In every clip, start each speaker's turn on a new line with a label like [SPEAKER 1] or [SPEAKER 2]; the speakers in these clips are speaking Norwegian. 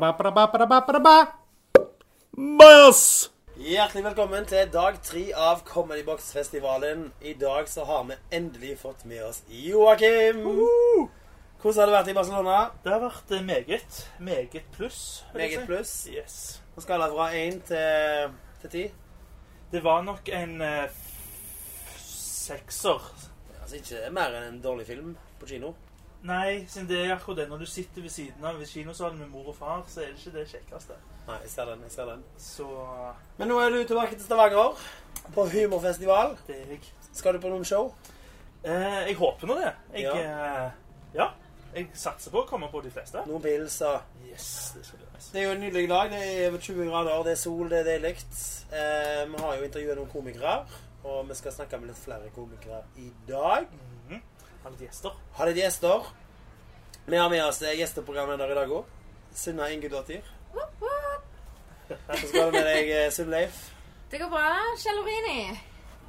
[SPEAKER 1] Ba-ba-ba-ba-ba-ba-ba-ba.
[SPEAKER 2] Bajas!
[SPEAKER 3] Hjertelig velkommen til dag tre av Comedy Box-festivalen. I dag så har vi endelig fått med oss Joakim. Hvordan har det vært i Barcelona?
[SPEAKER 4] Det har vært eh, meget. Meget pluss. vil jeg
[SPEAKER 3] Meget
[SPEAKER 4] si.
[SPEAKER 3] pluss.
[SPEAKER 4] Yes.
[SPEAKER 3] På skala fra én til til ti.
[SPEAKER 4] Det var nok en eh, f- sekser.
[SPEAKER 3] Altså ikke mer enn en dårlig film på kino.
[SPEAKER 4] Nei, siden det er akkurat det. Når du sitter ved siden av ved kinosalen med mor og far, så er det ikke det kjekkeste.
[SPEAKER 3] Nei, jeg ser den. jeg ser den.
[SPEAKER 4] Så
[SPEAKER 3] Men nå er du tilbake til Stavanger på humorfestival.
[SPEAKER 4] det er jeg.
[SPEAKER 3] Skal du på noen show?
[SPEAKER 4] Eh, jeg håper nå det. Jeg
[SPEAKER 3] Ja.
[SPEAKER 4] ja. ja. Jeg satser på å komme på de fleste.
[SPEAKER 3] Noen pils og
[SPEAKER 4] Yes, det skal bli nice.
[SPEAKER 3] Det er jo en nydelig dag. Det er over 20 grader, det er sol, det er deilig. Eh, vi har jo intervjuet noen komikere, og vi skal snakke med litt flere komikere i dag.
[SPEAKER 4] Mhm. Har litt gjester.
[SPEAKER 3] Har litt gjester. Vi har med oss eh, gjesteprogramleder i dag òg. Sunna Ingudottir. Så skal du med deg eh, Sunn-Leif.
[SPEAKER 5] Det går bra. Cellorini.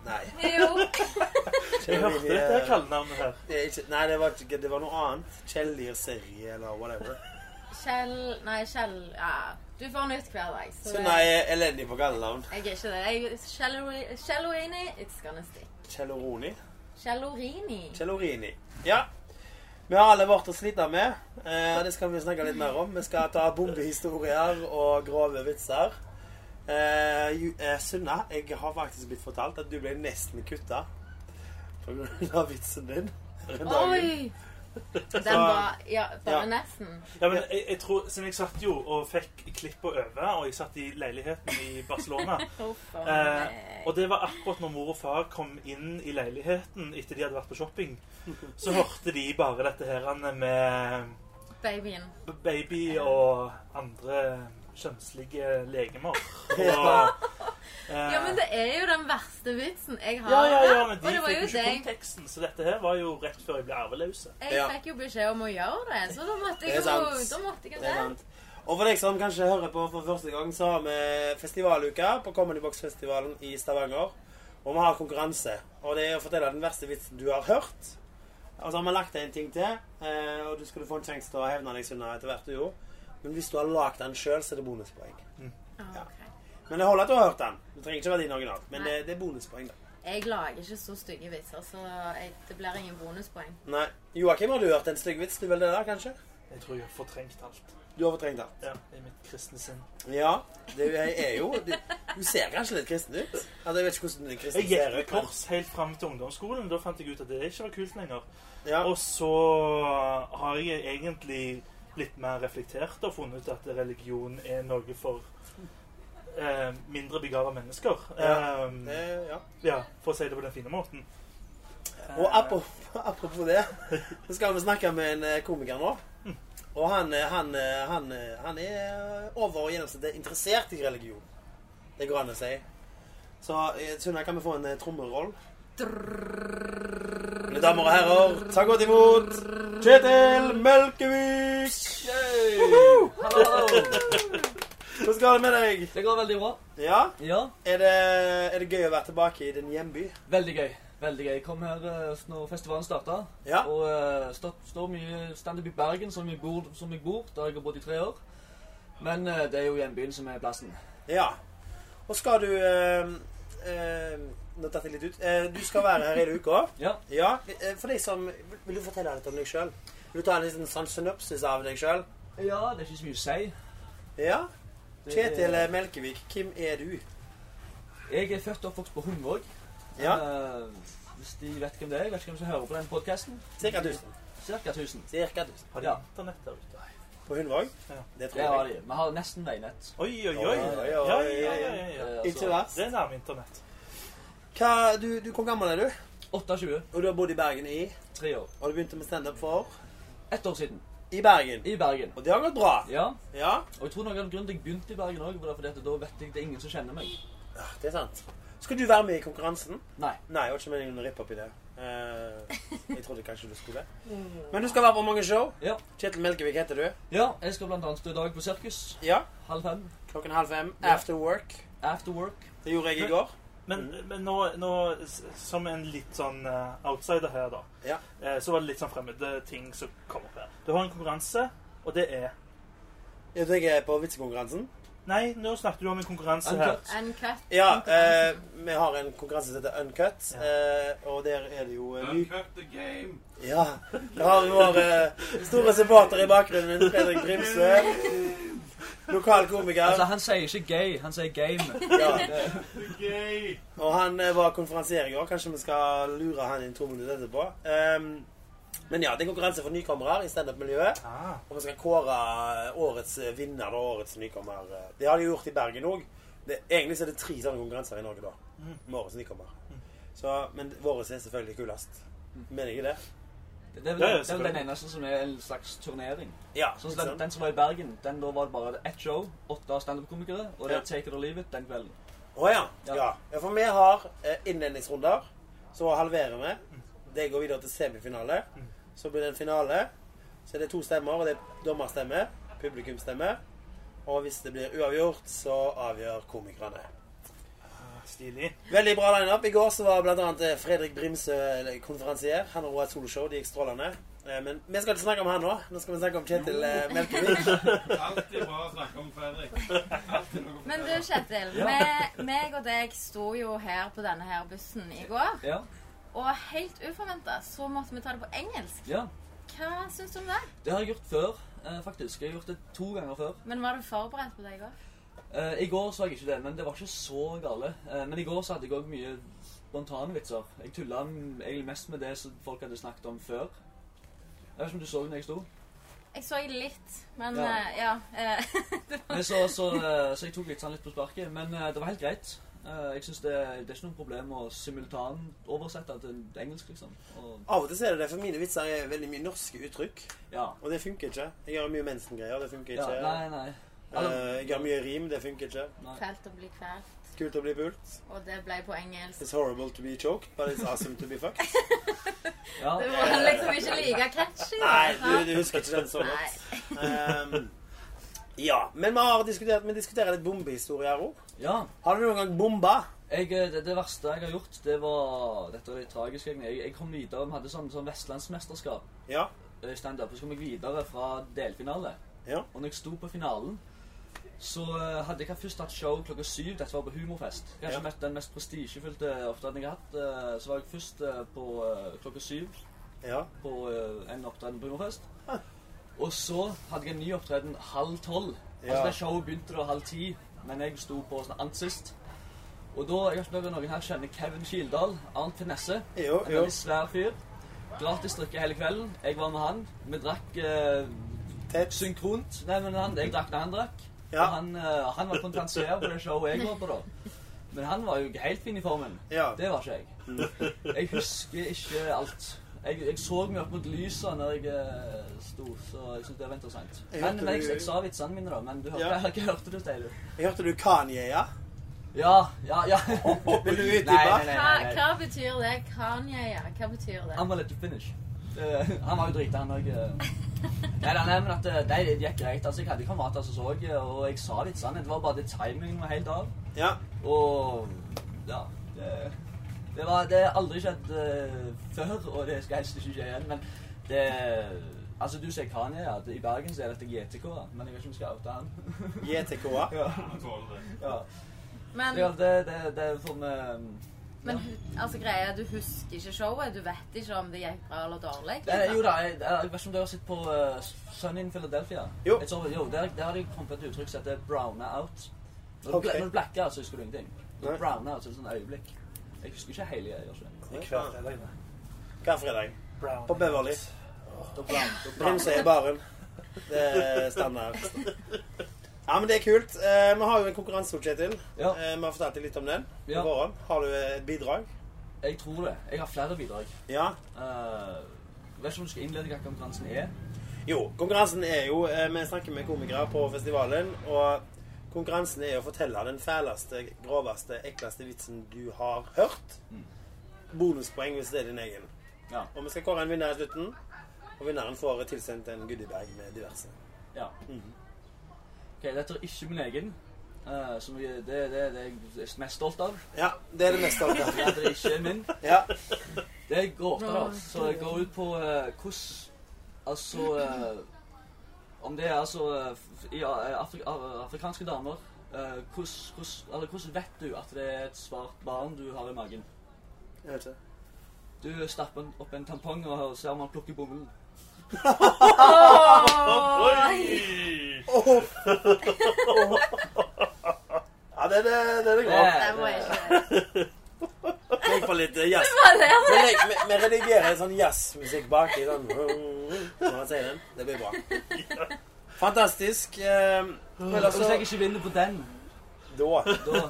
[SPEAKER 3] Nei.
[SPEAKER 5] Jo.
[SPEAKER 4] Jeg hørte
[SPEAKER 3] Vi, eh,
[SPEAKER 4] dette kallenavnet her.
[SPEAKER 3] det er ikke, nei, det var, ikke- det var noe annet. Kjellir serie eller whatever.
[SPEAKER 5] Kjell Nei, Kjell ja. Du får nytt hver dag. Så
[SPEAKER 3] Sunna er elendig på kallenavn.
[SPEAKER 5] jeg er ikke det. Jeg, Cello- Cellorini, it's gonna stick.
[SPEAKER 3] Kjelloroni.
[SPEAKER 5] Cellorini.
[SPEAKER 3] Cellorini. Ja. Vi har alle vårt å slite med. Eh, det skal vi snakke litt mer om. Vi skal ta bombehistorier og grove vitser. Eh, Ju- eh, Sunna, jeg har faktisk blitt fortalt at du ble nesten kutta pga. vitsen din. her om dagen.
[SPEAKER 5] Oi! Den var Ja, bare
[SPEAKER 3] Ja.
[SPEAKER 5] nesten.
[SPEAKER 4] Ja, men jeg, jeg tror, siden jeg satt jo og fikk klipp og øve, og jeg satt i leiligheten i Barcelona
[SPEAKER 5] Huff a
[SPEAKER 4] eh,
[SPEAKER 5] meg.
[SPEAKER 4] Og det var akkurat når mor og far kom inn i leiligheten etter de hadde vært på shopping, så hørte de bare dette her han, med
[SPEAKER 5] Babyen.
[SPEAKER 4] baby og andre kjønnslige legemer. Og, eh,
[SPEAKER 5] Ja, men det er jo den verste vitsen jeg har.
[SPEAKER 4] ja, ja, ja, men
[SPEAKER 5] Og
[SPEAKER 4] de
[SPEAKER 5] det var
[SPEAKER 4] fikk
[SPEAKER 5] jo
[SPEAKER 4] jo ikke
[SPEAKER 5] det jeg-
[SPEAKER 4] konteksten, så dette her var jo rett før jeg ble arveløse.
[SPEAKER 5] Jeg
[SPEAKER 3] Ja.
[SPEAKER 5] fikk jo beskjed om å gjøre det, så da måtte
[SPEAKER 3] Det er
[SPEAKER 5] jeg jo
[SPEAKER 3] sant.
[SPEAKER 5] Da måtte jeg jo
[SPEAKER 3] Det er
[SPEAKER 5] det.
[SPEAKER 3] sant. Og for deg som kanskje hører på for første gang, så har vi festivaluka på Comedy Box-festivalen i Stavanger. Og vi har konkurranse. Og det er å fortelle den verste vitsen du har hørt. Og så har vi lagt til en ting til, eh, og du skulle få en sjanse til å hevne deg Sunna, etter hvert. du jo. Men hvis du har lagd den sjøl, så er det bonuspoeng.
[SPEAKER 5] Ah, ok.
[SPEAKER 3] Men det holder at du har hørt den. Du trenger ikke være din original. Men det,
[SPEAKER 5] Nei.
[SPEAKER 3] det er bonuspoeng, da.
[SPEAKER 5] Jeg lager ikke så stygge vitser, så jeg, det blir ingen bonuspoeng.
[SPEAKER 3] Nei. Joakim, har du hørt en stygg vits? Du vil det der, kanskje?
[SPEAKER 4] Jeg tror jeg har fortrengt alt
[SPEAKER 3] Du har fortrengt den.
[SPEAKER 4] ja, i mitt kristne sinn.
[SPEAKER 3] Ja. Det er jo Du, du ser kanskje litt kristen ut. Altså, jeg vet ikke hvordan du er kristen.
[SPEAKER 4] Jeg gikk
[SPEAKER 3] ser
[SPEAKER 4] med
[SPEAKER 3] ut, men-
[SPEAKER 4] kors helt fram til ungdomsskolen. Da fant jeg ut at det ikke var kult lenger.
[SPEAKER 3] Ja.
[SPEAKER 4] Og så har jeg egentlig blitt mer reflektert og funnet ut at religion er noe for eh, mindre begava mennesker.
[SPEAKER 3] Ja,
[SPEAKER 4] Eh,
[SPEAKER 3] det- ja.
[SPEAKER 4] ja, for å si det på den fine måten.
[SPEAKER 3] Og apropos, apropos det, så skal vi snakke med en eh, komiker nå. Og han, eh, han, eh, han, eh, han er over gjennomsnittet interessert i religion. Det går an å si. Så eh, Sunna, kan vi få en eh, trommeroll? Mine damer og herrer, ta godt imot Kjetil Melkevik!
[SPEAKER 6] Yay! Hallo!
[SPEAKER 3] Hvordan går det med deg?
[SPEAKER 6] Det går veldig bra.
[SPEAKER 3] Ja?
[SPEAKER 6] Ja,
[SPEAKER 3] Er det, er det gøy å være tilbake i din hjemby?
[SPEAKER 6] veldig gøy. Veldig gøy. Jeg kom her eh, når festivalen starta.
[SPEAKER 3] Ja.
[SPEAKER 6] Og eh, står, står mye standup i Bergen, som jeg bor, som jeg bor der jeg har bodd i tre år. Men eh, det er jo hjembyen som er plassen.
[SPEAKER 3] Ja. Og skal du eh, eh, Nå datt jeg litt ut. Eh, du skal være her hele uka.
[SPEAKER 6] Ja.
[SPEAKER 3] Ja, eh, for deg som Vil du fortelle litt om deg sjøl? Vil du ta en liten sånn synopsis av deg sjøl?
[SPEAKER 6] ja, det er ikke så mye å si.
[SPEAKER 3] Ja.
[SPEAKER 6] Det er-
[SPEAKER 3] Kjetil eh. Melkevik, hvem er du?
[SPEAKER 6] Jeg er født og oppvokst på Hundvåg.
[SPEAKER 3] Ja,
[SPEAKER 6] Eh, hvis de vet hvem det er, jeg vet ikke hvem som hører på den podkasten.
[SPEAKER 3] Cirka 1000.
[SPEAKER 6] Cirka 1000.
[SPEAKER 3] Cirka 1000.
[SPEAKER 4] Har de
[SPEAKER 6] Ja.
[SPEAKER 4] internett der ute?
[SPEAKER 3] På Hundvåg?
[SPEAKER 4] Ja.
[SPEAKER 3] Det
[SPEAKER 6] Det har
[SPEAKER 3] tror jeg.
[SPEAKER 6] de. Vi har nesten veinett.
[SPEAKER 4] Oi, oi, oi.
[SPEAKER 3] Oi, oi, oi.
[SPEAKER 4] Ja, ja, ja, ja, ja.
[SPEAKER 6] Eh,
[SPEAKER 3] Ikke
[SPEAKER 6] altså,
[SPEAKER 3] verst.
[SPEAKER 4] Det er nærme internett.
[SPEAKER 3] Hva, du, du, hvor gammel er du?
[SPEAKER 6] 28.
[SPEAKER 3] Og du har bodd i Bergen i
[SPEAKER 6] Tre år.
[SPEAKER 3] Og du begynte med standup for
[SPEAKER 6] Ett år siden.
[SPEAKER 3] I Bergen.
[SPEAKER 6] I Bergen.
[SPEAKER 3] Og det har gått bra.
[SPEAKER 6] Ja.
[SPEAKER 3] Ja,
[SPEAKER 6] Og jeg tror noe av grunnen til at jeg begynte i Bergen òg, var fordi at da vet jeg det er ingen som kjenner meg.
[SPEAKER 3] det er sant. Skal du være med i konkurransen?
[SPEAKER 6] Nei.
[SPEAKER 3] Nei, det var ikke meningen å rippe opp i det. Eh, jeg trodde kanskje du skulle. Men du skal være på mange show.
[SPEAKER 6] Ja.
[SPEAKER 3] Kjetil Melkevik heter du.
[SPEAKER 6] ja, jeg skal blant annet stå i dag på sirkus.
[SPEAKER 3] Ja.
[SPEAKER 6] Halv fem.
[SPEAKER 3] Klokken halv fem.
[SPEAKER 6] Ja.
[SPEAKER 3] After work.
[SPEAKER 6] After work.
[SPEAKER 3] Det gjorde jeg i går.
[SPEAKER 4] Men,
[SPEAKER 3] Mm.
[SPEAKER 4] men nå, nå, s- som en litt sånn eh, outsider her, da,
[SPEAKER 3] Ja.
[SPEAKER 4] eh, så var det litt sånn fremmede ting som kom opp her. Du har en konkurranse, og det er
[SPEAKER 3] Er du ikke på vitsekonkurransen?
[SPEAKER 4] Nei, nå snakket du om en konkurranse her.
[SPEAKER 6] Uncut.
[SPEAKER 5] Uncut.
[SPEAKER 3] Ja, eh,
[SPEAKER 5] konkurranse.
[SPEAKER 3] vi har en konkurranse som heter Uncut,
[SPEAKER 4] Ja.
[SPEAKER 3] eh, og der er det jo eh, ny...
[SPEAKER 1] Uncut the game.
[SPEAKER 3] Ja, der har vi vår eh, store supporter i bakgrunnen, Fredrik Grimsø. Lokal komiker.
[SPEAKER 6] Altså, han sier ikke gay, han sier game.
[SPEAKER 3] Ja.
[SPEAKER 1] Gay.
[SPEAKER 3] Og han eh, var konferansier i går. Kanskje vi skal lure han inn to minutter etterpå. Ehm, men ja, det er konkurranse for nykommere i standup-miljøet.
[SPEAKER 4] Ah,
[SPEAKER 3] Og vi skal kåre eh, årets vinner og årets nykommer. Det har de gjort i Bergen òg. Egentlig så er det tre sånne konkurranser i Norge da. Med årets nykommer.
[SPEAKER 6] Mm.
[SPEAKER 3] Så, men vår er selvfølgelig kulest. Mener jeg det?
[SPEAKER 6] Det er vel,
[SPEAKER 4] Ja, ja,
[SPEAKER 6] det er vel den
[SPEAKER 4] selvfølgelig.
[SPEAKER 6] eneste som er en slags turnering.
[SPEAKER 3] Ja.
[SPEAKER 6] Sånn
[SPEAKER 3] ikke
[SPEAKER 6] som den,
[SPEAKER 3] sant?
[SPEAKER 6] den som var i Bergen, den da var det bare ett show, åtte standup-komikere, og det
[SPEAKER 3] Ja.
[SPEAKER 6] er Take It or Leave It den kvelden.
[SPEAKER 3] Å ja. ja. Ja, For vi har eh, innledningsrunder. Så halverer vi. Det går videre til semifinale. Så blir det en finale. Så er det to stemmer, og det er dommerstemme, publikumsstemme. Og hvis det blir uavgjort, så avgjør komikerne.
[SPEAKER 4] stilig.
[SPEAKER 3] Veldig bra lineup. I går så var bl.a. Fredrik Brimsø eller, konferansier. Han har et soloshow. Det gikk strålende. Eh, Men vi skal ikke snakke om han nå. Nå skal vi snakke om Kjetil eh, Melkevik.
[SPEAKER 1] Alltid bra å snakke om Fredrik. Alltid noe
[SPEAKER 5] Men du, Kjetil. me- Meg og deg sto jo her på denne her bussen i går.
[SPEAKER 6] Ja,
[SPEAKER 5] Og helt uforventa så måtte vi ta det på engelsk.
[SPEAKER 6] ja.
[SPEAKER 5] Hva syns du om det?
[SPEAKER 6] Det har jeg gjort før, eh, faktisk. Jeg har gjort det to ganger før.
[SPEAKER 5] Men var du forberedt på det i går?
[SPEAKER 6] Eh, I går så jeg ikke det, men det var ikke så gale. Eh, men i går så hadde jeg òg mye spontane vitser. Jeg tulla m- egentlig mest med det som folk hadde snakket om før. Jeg vet ikke om du så det når jeg sto.
[SPEAKER 5] Jeg så litt, men
[SPEAKER 6] Ja.
[SPEAKER 5] eh, ja. eh,
[SPEAKER 6] Men så, så, eh, så jeg tok litt sånn litt på sparket. Men eh, det var helt greit. Eh, jeg synes det, det er ikke noe problem å simultanoversette til engelsk, liksom. Og,
[SPEAKER 3] Av og til så er det det, for mine vitser er veldig mye norske uttrykk.
[SPEAKER 6] ja.
[SPEAKER 3] Og det funker ikke. Jeg gjør mye mensengreier. Det funker
[SPEAKER 6] ja.
[SPEAKER 3] ikke.
[SPEAKER 6] Nei, nei.
[SPEAKER 3] Eh, jeg har mye rim, det funker ikke.
[SPEAKER 5] Fælt å bli kvalt,
[SPEAKER 3] Kult å bli pult.
[SPEAKER 5] og det ble på engelsk.
[SPEAKER 3] It's horrible to be choked, but it's awesome to be fucked.
[SPEAKER 6] Ja.
[SPEAKER 5] Det var liksom ikke like catchy.
[SPEAKER 3] Eh, Nei, du,
[SPEAKER 5] sant?
[SPEAKER 3] du husker ikke den så
[SPEAKER 5] Nei.
[SPEAKER 3] godt. Ehm, ja, men vi har diskutert Vi diskuterer litt bombehistorier òg.
[SPEAKER 6] ja.
[SPEAKER 3] Har du noen gang bomba?
[SPEAKER 6] Jeg, eh, det, det verste jeg har gjort, det var Dette er litt tragisk, egentlig. Jeg, jeg kom videre. Vi hadde sånn, sånn vestlandsmesterskap.
[SPEAKER 3] Ja.
[SPEAKER 6] eh, standup, og så kom jeg videre fra delfinale.
[SPEAKER 3] Ja.
[SPEAKER 6] Og når jeg sto på finalen, så eh, hadde jeg hatt- først hatt show klokka syv. Dette var på humorfest. Kanskje
[SPEAKER 3] Ja.
[SPEAKER 6] mest- den mest prestisjefylte opptredenen jeg har hatt. eh, Så var jeg først eh, på eh, klokka syv
[SPEAKER 3] ja.
[SPEAKER 6] på eh, en opptreden på humorfest.
[SPEAKER 3] Ah.
[SPEAKER 6] Og så hadde jeg en ny opptreden halv tolv. Altså
[SPEAKER 3] Ja.
[SPEAKER 6] det showet begynte da halv ti, men jeg sto på sånn ant sist. Og da, jeg vet ikke om noen her kjenner Kevin Kildahl, Arnt Finesse.
[SPEAKER 3] Jo,
[SPEAKER 6] En
[SPEAKER 3] jo.
[SPEAKER 6] veldig svær fyr. Gratis drikke hele kvelden. Jeg var med han. Vi drakk eh,
[SPEAKER 3] Tett.
[SPEAKER 6] synkront. Nei, men han, jeg drakk da han drakk.
[SPEAKER 3] Ja.
[SPEAKER 6] Og han, eh, han var konferansier på det showet jeg var på, da. Men han var jo helt fin i formen.
[SPEAKER 3] Ja.
[SPEAKER 6] Det var ikke jeg. Jeg husker ikke alt. Jeg, jeg så meg opp mot lyset når jeg eh, sto, så jeg syns det var interessant.
[SPEAKER 3] Jeg
[SPEAKER 6] Men,
[SPEAKER 3] hørte
[SPEAKER 6] men jeg,
[SPEAKER 3] du-
[SPEAKER 6] jeg sa vitsene mine, da. Men du hørte,
[SPEAKER 3] Ja.
[SPEAKER 6] hva hørte du, Steiner?
[SPEAKER 3] Jeg hørte du Kanye, ja?
[SPEAKER 6] Ja, ja, ja.
[SPEAKER 3] Vil du utdype?
[SPEAKER 6] Nei, nei, nei,
[SPEAKER 5] Hva,
[SPEAKER 6] nei, nei.
[SPEAKER 5] hva betyr det? Kanye, ja. Hva betyr det?
[SPEAKER 6] Han var litt finish. Eh, han var jo drita, han òg. Nei, nei, nei, men at eh, det gikk greit. altså Jeg hadde kamerater som så, eh, og jeg sa litt sannhet. Det var bare det timingen var helt av.
[SPEAKER 3] Ja.
[SPEAKER 6] Og ja Det, det, var, det har aldri skjedd eh, før, og det skal helst ikke skje igjen. Men det Altså, du sier Kanye. Ja. I Bergen så er dette GTK, da, men jeg vet ikke om jeg skal oute han.
[SPEAKER 3] JTK.
[SPEAKER 6] ja,
[SPEAKER 1] Han tåler det.
[SPEAKER 6] ja. Så
[SPEAKER 5] Men,
[SPEAKER 6] ja, det, det, det er sånn eh,
[SPEAKER 5] men hu- altså, greia, er, du husker ikke showet. Du vet ikke om det gikk bra eller dårlig.
[SPEAKER 6] det, er- Jo
[SPEAKER 5] liksom.
[SPEAKER 6] da, jeg, jeg vet ikke om dere har sett på eh, Sun in Philadelphia?
[SPEAKER 3] Jo.
[SPEAKER 6] Jeg tror- jo der, der har de kommet på et uttrykk som heter 'browne out'. Når du,
[SPEAKER 3] Ok.
[SPEAKER 6] bla- når du blacker out, så husker du ingenting. Når
[SPEAKER 3] Nei.
[SPEAKER 6] du browner out, så er det sånn øyeblikk. Jeg husker ikke hele jeg gjør ikke. det.
[SPEAKER 3] Hver fredag.
[SPEAKER 4] Brown.
[SPEAKER 3] På Beverly.
[SPEAKER 6] Da brown- da brown-
[SPEAKER 3] Bremse i baren. Det er standard. Ja, men det er kult. Eh, vi har jo en konkurranse, Kjetil.
[SPEAKER 6] Ja.
[SPEAKER 3] Eh, vi har fortalt deg litt om den. på
[SPEAKER 6] Ja.
[SPEAKER 3] forhånd. Har du et bidrag?
[SPEAKER 6] Jeg tror det. Jeg har flere bidrag.
[SPEAKER 3] Ja.
[SPEAKER 6] Eh, vet ikke om du skal innlede hva konkurransen er.
[SPEAKER 3] Jo, konkurransen er jo eh, Vi snakker med komikere på festivalen, og konkurransen er å fortelle den fæleste, groveste, ekleste vitsen du har hørt. Bonuspoeng hvis det er din egen.
[SPEAKER 6] Mm. Ja.
[SPEAKER 3] Og vi skal kåre en vinner i slutten. Og vinneren får tilsendt en goodiebag med diverse.
[SPEAKER 6] ja.
[SPEAKER 3] Mhm.
[SPEAKER 6] Ok, Dette er ikke min egen, eh, som jeg, det, det, det er jeg er mest stolt av.
[SPEAKER 3] Ja, det er det meste av det.
[SPEAKER 6] Dette er ikke min.
[SPEAKER 3] Ja.
[SPEAKER 6] Det er gåter, da. Så jeg går ut på eh, hvordan Altså eh, Om det er altså eh, f- i eh, Afri af- afrikanske damer eh, hvordan- hvordan- eller Hvordan vet du at det er et svart barn du har i magen?
[SPEAKER 3] Jeg vet ikke.
[SPEAKER 6] Du stapper en- opp en tampong og ser om han plukker bomullen.
[SPEAKER 4] Oi!
[SPEAKER 3] Ja, det, det, det er det
[SPEAKER 6] Det
[SPEAKER 3] bra.
[SPEAKER 6] er-
[SPEAKER 5] Det må jeg ikke.
[SPEAKER 3] Tenk på litt eh, jazz.
[SPEAKER 5] Hva er det?
[SPEAKER 3] Vi legger- Vi vi redigerer sånn jazzmusikk baki. Sånn. Når han sier den. Det blir bra. Fantastisk. Eh, ellers
[SPEAKER 6] Hvis jeg
[SPEAKER 3] så
[SPEAKER 6] ikke vinner på den,
[SPEAKER 3] Da.
[SPEAKER 6] da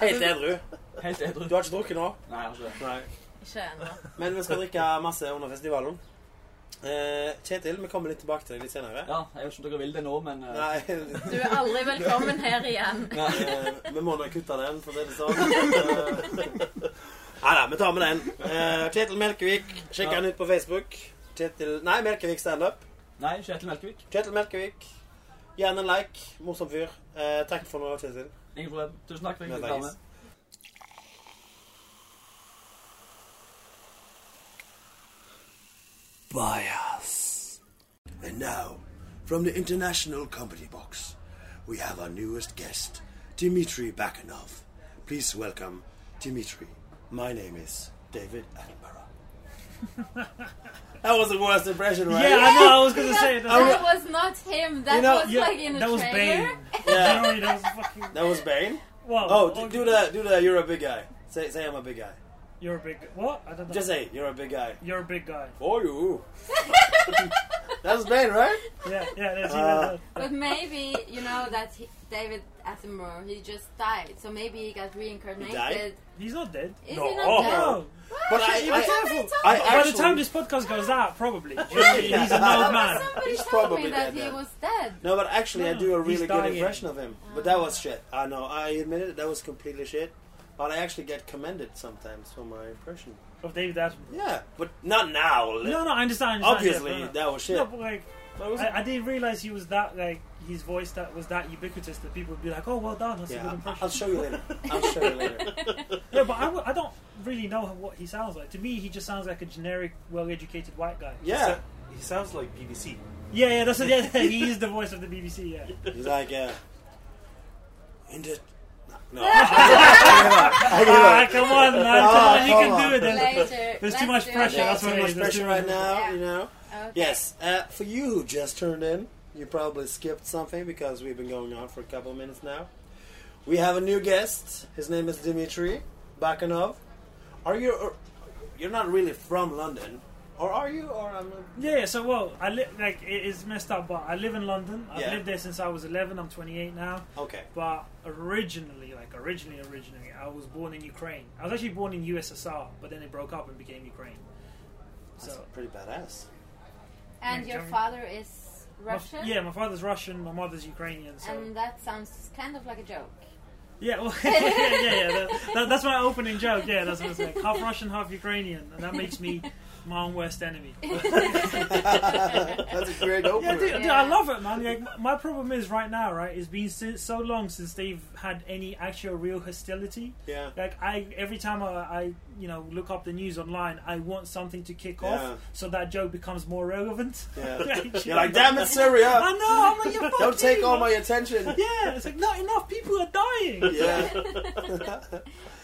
[SPEAKER 3] Helt edru.
[SPEAKER 6] Helt edru.
[SPEAKER 3] Du har ikke drukket nå?
[SPEAKER 6] Nei, altså.
[SPEAKER 3] Nei.
[SPEAKER 5] Ikke ennå.
[SPEAKER 3] Men vi skal drikke masse under festivalen. Eh, Kjetil, vi kommer litt tilbake til deg litt senere.
[SPEAKER 6] Ja, jeg vet ikke om dere vil det nå, men eh,
[SPEAKER 3] Nei,
[SPEAKER 5] Du er aldri velkommen her igjen.
[SPEAKER 3] eh, vi må nok kutte den, for å si det sånn. Eh, Nei da, vi tar med den. Eh, Kjetil Melkevik, sjekk han ut på Facebook. Kjetil Nei, Melkevik standup.
[SPEAKER 6] Nei, Kjetil Melkevik.
[SPEAKER 3] Kjetil Melkevik. Gjerne en like. Morsom fyr. Eh, takk for nå, Kjetil.
[SPEAKER 6] Ingen problem. Tusen takk for at jeg
[SPEAKER 3] Med
[SPEAKER 6] fikk
[SPEAKER 3] deg.
[SPEAKER 6] være med.
[SPEAKER 7] bias. And now, from the International Comedy Box, we have our newest guest, Dmitry Bakanov. Please welcome Dmitry.
[SPEAKER 3] My name is David Attenborough. That was the worst impression, right?
[SPEAKER 8] Yeah, I know. I was gonna say that.
[SPEAKER 5] That was not him. That
[SPEAKER 3] You know,
[SPEAKER 5] was
[SPEAKER 8] Yeah,
[SPEAKER 5] like in a
[SPEAKER 8] that was Bane.
[SPEAKER 5] trailer.
[SPEAKER 3] Yeah.
[SPEAKER 8] Literally, that was fucking.
[SPEAKER 3] That was Bane.
[SPEAKER 8] Whoa.
[SPEAKER 3] Oh,
[SPEAKER 8] okay.
[SPEAKER 3] d- do the do the. You're a big guy. Say say I'm a big guy.
[SPEAKER 8] You're a big. What? I don't know.
[SPEAKER 3] Just say you're a big guy.
[SPEAKER 8] You're a big guy.
[SPEAKER 3] For you. that was Bane, right?
[SPEAKER 8] Yeah, yeah. That's
[SPEAKER 3] Uh,
[SPEAKER 5] But maybe you know that he, David Attenborough he just died, so maybe he got reincarnated.
[SPEAKER 8] He's not dead.
[SPEAKER 5] Is
[SPEAKER 4] No.
[SPEAKER 5] he not dead?
[SPEAKER 8] No.
[SPEAKER 3] But I,
[SPEAKER 8] you were
[SPEAKER 3] I,
[SPEAKER 8] careful.
[SPEAKER 3] I
[SPEAKER 8] By the
[SPEAKER 3] actually-
[SPEAKER 8] time this podcast goes out, probably he's an old man.
[SPEAKER 5] Somebody
[SPEAKER 3] He's
[SPEAKER 5] told
[SPEAKER 3] probably
[SPEAKER 5] me that
[SPEAKER 3] dead
[SPEAKER 5] he
[SPEAKER 3] then.
[SPEAKER 5] was dead.
[SPEAKER 3] no, but actually I
[SPEAKER 8] No,
[SPEAKER 3] do a
[SPEAKER 8] he's
[SPEAKER 3] really good
[SPEAKER 8] dying.
[SPEAKER 3] impression of him. But that was shit. I know. I admit it. That was completely shit. But I actually get commended sometimes for my impression.
[SPEAKER 8] Of David Attenborough.
[SPEAKER 3] Yeah, but not now.
[SPEAKER 8] No, no, I understand. I understand, yeah,
[SPEAKER 3] Obviously,
[SPEAKER 8] no, no.
[SPEAKER 3] that was shit.
[SPEAKER 8] No, but like, I, I didn't realize he was that like his voice that was that ubiquitous that people would be like, "Oh, well done, that's a
[SPEAKER 3] yeah,
[SPEAKER 8] good
[SPEAKER 3] I-
[SPEAKER 8] impression."
[SPEAKER 3] I'll show you later. I'll show you later.
[SPEAKER 8] yeah, but I, w- I don't really know what he sounds like. To me, he just sounds like a generic, well-educated white guy.
[SPEAKER 3] Yeah.
[SPEAKER 4] He sounds like BBC.
[SPEAKER 8] Yeah, yeah, that's yeah, he is the voice of the BBC. Yeah,
[SPEAKER 3] He's like, yeah. In the... No. I give
[SPEAKER 8] ah,
[SPEAKER 3] up.
[SPEAKER 8] come on, man,
[SPEAKER 3] Oh,
[SPEAKER 8] come on, you
[SPEAKER 3] come
[SPEAKER 8] can
[SPEAKER 3] on.
[SPEAKER 8] do it. There's,
[SPEAKER 5] Later.
[SPEAKER 8] there's
[SPEAKER 5] Let's
[SPEAKER 8] too much
[SPEAKER 5] do
[SPEAKER 8] pressure.
[SPEAKER 5] it
[SPEAKER 8] That's
[SPEAKER 5] later.
[SPEAKER 8] what
[SPEAKER 3] Too much
[SPEAKER 8] it is. There's too
[SPEAKER 3] pressure
[SPEAKER 8] much
[SPEAKER 3] right
[SPEAKER 8] pressure.
[SPEAKER 3] now,
[SPEAKER 5] Yeah.
[SPEAKER 3] you know.
[SPEAKER 5] Okay.
[SPEAKER 3] Yes, uh, for you who just turned in, you probably skipped something because we've been going on for a couple of minutes now. We have a new guest. His name is Dimitri Bakanov. Are you? Or, you're not really from London, or are you? Or um, I'm.
[SPEAKER 8] Yeah, yeah, so well, I li- like it is messed up, but I live in London. I've
[SPEAKER 3] Yeah.
[SPEAKER 8] lived there since I was 11. I'm 28 now.
[SPEAKER 3] Okay.
[SPEAKER 8] But originally, like originally, originally, I was born in Ukraine. I was actually born in USSR, but then it broke up and became Ukraine.
[SPEAKER 3] That's
[SPEAKER 8] So
[SPEAKER 3] pretty badass.
[SPEAKER 5] And your father is
[SPEAKER 8] my-
[SPEAKER 5] Russian.
[SPEAKER 8] yeah, my father's Russian, my mother's Ukrainian. So
[SPEAKER 5] And that sounds kind of like a joke.
[SPEAKER 8] yeah, well, yeah, yeah, yeah. That, that, that's my opening joke. Yeah, that's what it's like. Half Russian, half Ukrainian, and that makes me my own worst enemy.
[SPEAKER 3] That's a great
[SPEAKER 8] Yeah,
[SPEAKER 3] opener.
[SPEAKER 8] dude, dude, I
[SPEAKER 5] Yeah.
[SPEAKER 8] love it, man. Like, my problem is right now, right? It's been si- so long since they've had any actual real hostility.
[SPEAKER 3] Yeah.
[SPEAKER 8] Like, I every time I, I you know look up the news online, I want something to kick
[SPEAKER 3] Yeah.
[SPEAKER 8] off so that joke becomes more relevant.
[SPEAKER 3] Yeah.
[SPEAKER 8] Like,
[SPEAKER 3] You're like, damn it, Syria!
[SPEAKER 8] I know. I'm like, you
[SPEAKER 3] Don't take all my attention.
[SPEAKER 8] Yeah, it's like not enough people are dying.
[SPEAKER 3] Yeah.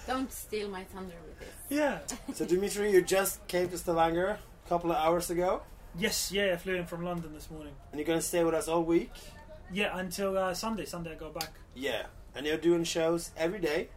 [SPEAKER 5] Don't steal my thunder with this.
[SPEAKER 8] Yeah.
[SPEAKER 3] So Dimitri, you just came to Stavanger a couple of hours ago,
[SPEAKER 8] Yes. Yeah. I flew in from London this morning.
[SPEAKER 3] and you're gonna stay with us all week.
[SPEAKER 8] Yeah, until uh, Sunday. Sunday I go back.
[SPEAKER 3] Yeah. And you're doing shows every day.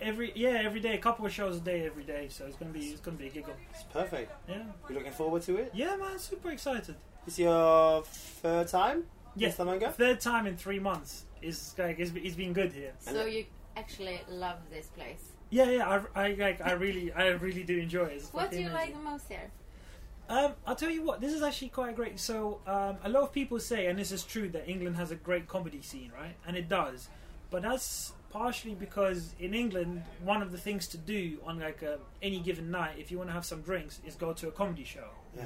[SPEAKER 8] Every yeah, every day, a couple of shows a day, every day. So it's gonna be it's gonna be a giggle.
[SPEAKER 3] It's perfect.
[SPEAKER 8] Yeah.
[SPEAKER 3] You're looking forward to it.
[SPEAKER 8] Yeah, man, super excited.
[SPEAKER 3] It's your third time in
[SPEAKER 8] Yes,
[SPEAKER 3] Stavanger.
[SPEAKER 8] third time in three months is like it's, it's been good here.
[SPEAKER 5] So you actually love this place.
[SPEAKER 8] Yeah, yeah, I, I like I really I really do enjoy it. It's
[SPEAKER 5] What do
[SPEAKER 8] fucking
[SPEAKER 5] you like the
[SPEAKER 8] amazing.
[SPEAKER 5] most here?
[SPEAKER 8] Um, I'll tell you what, this is actually quite great. So um, a lot of people say, and this is true, that England has a great comedy scene, right? And it does, but that's partially because in England, one of the things to do on like a, any given night, if you want to have some drinks, is go to a comedy show.
[SPEAKER 3] Yeah.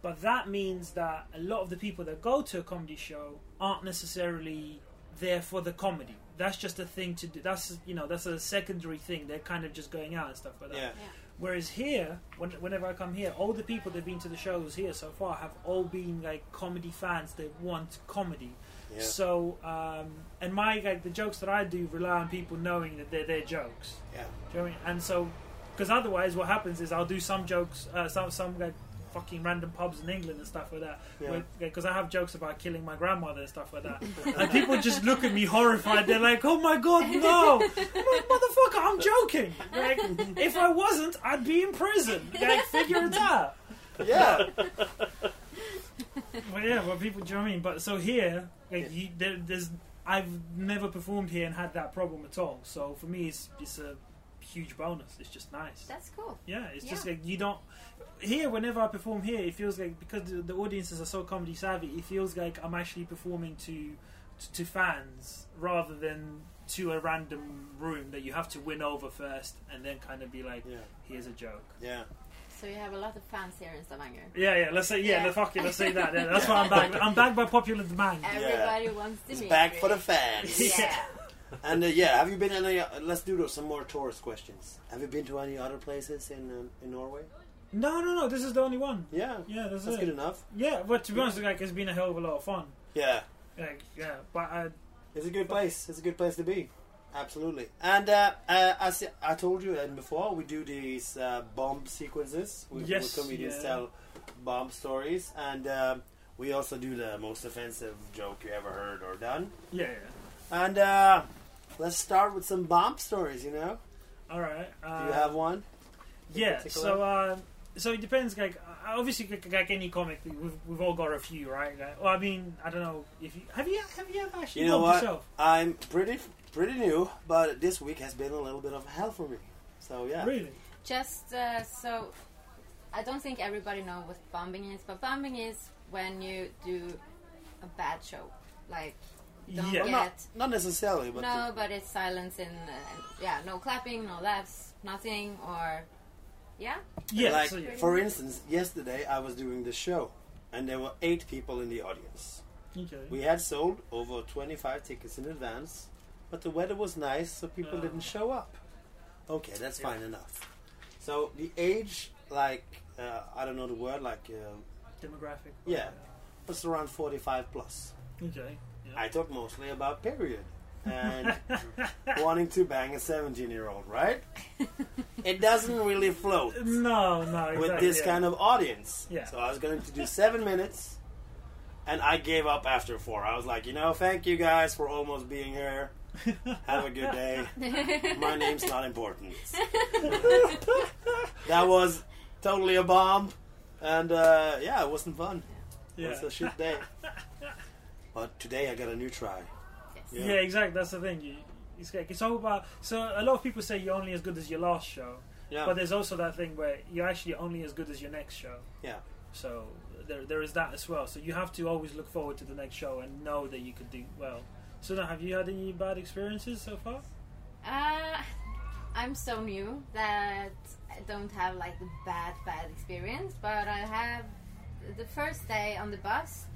[SPEAKER 8] But that means that a lot of the people that go to a comedy show aren't necessarily there for the comedy. That's just a thing to do. That's you know that's a secondary thing. They're kind of just going out and stuff like that.
[SPEAKER 3] Yeah.
[SPEAKER 8] Whereas here, when, whenever I come here, all the people that've been to the shows here so far have all been like comedy fans that want comedy.
[SPEAKER 3] Yeah.
[SPEAKER 8] So, um, and my like, the jokes that I do rely on people knowing that they're their jokes.
[SPEAKER 3] Yeah.
[SPEAKER 8] Do you know what I mean? And so, because otherwise, what happens is I'll do some jokes, uh, some some like fucking random pubs in England and stuff like that.
[SPEAKER 3] Yeah.
[SPEAKER 8] Because I have jokes about killing my grandmother and stuff like that, and people just look at me horrified. They're like, "Oh my god, no, I'm like, motherfucker, I'm joking." Like, if I wasn't, I'd be in prison. Like, figure it out.
[SPEAKER 3] Yeah.
[SPEAKER 8] Well, yeah, well, people, do you know what I mean? But so here, like, you, there, there's, I've never performed here and had that problem at all. So for me, it's it's a huge bonus. It's just nice.
[SPEAKER 5] That's cool.
[SPEAKER 8] Yeah, it's just
[SPEAKER 5] Yeah.
[SPEAKER 8] like you don't. Here, whenever I perform here, it feels like because the, the audiences are so comedy savvy, it feels like I'm actually performing to, to to fans rather than to a random room that you have to win over first and then kind of be like,
[SPEAKER 3] Yeah.
[SPEAKER 8] here's a joke.
[SPEAKER 3] Yeah.
[SPEAKER 5] So you have a lot of fans here in Stavanger.
[SPEAKER 8] Yeah, yeah. Let's say yeah.
[SPEAKER 5] Yeah.
[SPEAKER 8] Fuck it. Let's say that. Yeah, that's why I'm back. I'm back by popular demand.
[SPEAKER 5] Everybody wants to
[SPEAKER 3] It's
[SPEAKER 5] meet.
[SPEAKER 3] back for the
[SPEAKER 5] you.
[SPEAKER 3] fans.
[SPEAKER 5] Yeah.
[SPEAKER 3] And uh, yeah, have you been any? uh, Let's do some more tourist questions. Have you been to any other places in um, in Norway?
[SPEAKER 8] No, no, no. This is the only one.
[SPEAKER 3] Yeah,
[SPEAKER 8] Yeah, that's,
[SPEAKER 3] that's
[SPEAKER 8] it.
[SPEAKER 3] good enough.
[SPEAKER 8] Yeah, but to be honest, like it's been a hell of a lot of fun.
[SPEAKER 3] Yeah,
[SPEAKER 8] Like, yeah, but I,
[SPEAKER 3] it's a good place. It's a good place to be. Absolutely. And uh, uh, as I told you and before, we do these uh, bomb sequences. We,
[SPEAKER 8] Yes,
[SPEAKER 3] we comedians
[SPEAKER 8] yeah.
[SPEAKER 3] tell bomb stories, and um, we also do the most offensive joke you ever heard or done.
[SPEAKER 8] yeah, yeah.
[SPEAKER 3] And uh, let's start with some bomb stories. You know,
[SPEAKER 8] All right. Uh,
[SPEAKER 3] do you have one? in
[SPEAKER 8] Yeah.
[SPEAKER 3] particular?
[SPEAKER 8] So, uh, so it depends. Like, uh, obviously, like, like any comic, we've, we've all got a few, right? Like, well, I mean, I don't know if you have you have you ever actually
[SPEAKER 3] You know
[SPEAKER 8] bombed
[SPEAKER 3] what?
[SPEAKER 8] yourself?
[SPEAKER 3] I'm pretty pretty new, but this week has been a little bit of hell for me. So yeah,
[SPEAKER 8] Really?
[SPEAKER 5] Just uh, so, I don't think everybody know what bombing is, but bombing is when you do a bad show, like don't get.
[SPEAKER 8] Yeah. Well,
[SPEAKER 3] not not necessarily, but
[SPEAKER 5] no, but it's silence and uh, yeah, no clapping, no laughs, nothing, or yeah,
[SPEAKER 8] Yeah.
[SPEAKER 3] like
[SPEAKER 8] so, yeah.
[SPEAKER 3] for instance, yesterday I was doing the show, and there were eight people in the audience.
[SPEAKER 8] Okay.
[SPEAKER 3] We had sold over 25 tickets in advance, but the weather was nice, so people
[SPEAKER 8] Oh.
[SPEAKER 3] didn't show up. Okay, that's fine enough. So the age, like uh, I don't know the word, like uh,
[SPEAKER 8] Demographic.
[SPEAKER 3] Yeah. was around 45 plus.
[SPEAKER 8] Okay.
[SPEAKER 3] I talk mostly about period and wanting to bang a 17 year old, right? It doesn't really float
[SPEAKER 8] No, no. Exactly,
[SPEAKER 3] with this
[SPEAKER 8] yeah.
[SPEAKER 3] kind of audience.
[SPEAKER 8] Yeah.
[SPEAKER 3] So I was going to do seven minutes and I gave up after four. I was like, you know, thank you guys for almost being here. Have a good day. My name's not important. that was totally a bomb. And uh, yeah, it wasn't fun.
[SPEAKER 8] Yeah.
[SPEAKER 3] It was a shit day. But today I got a new try.
[SPEAKER 5] yes.
[SPEAKER 8] Yeah. exactly. That's the thing. You, it's like it's all about. So a lot of people say you're only as good as your last show,
[SPEAKER 3] Yeah.
[SPEAKER 8] but there's also that thing where you're actually only as good as your next show.
[SPEAKER 3] Yeah.
[SPEAKER 8] So there, there is that as well. So you have to always look forward to the next show and know that you could do well. So now, have you had any bad experiences so far?
[SPEAKER 5] Uh, I'm so new that I don't have like the bad bad experience, but I have the first day on the bus.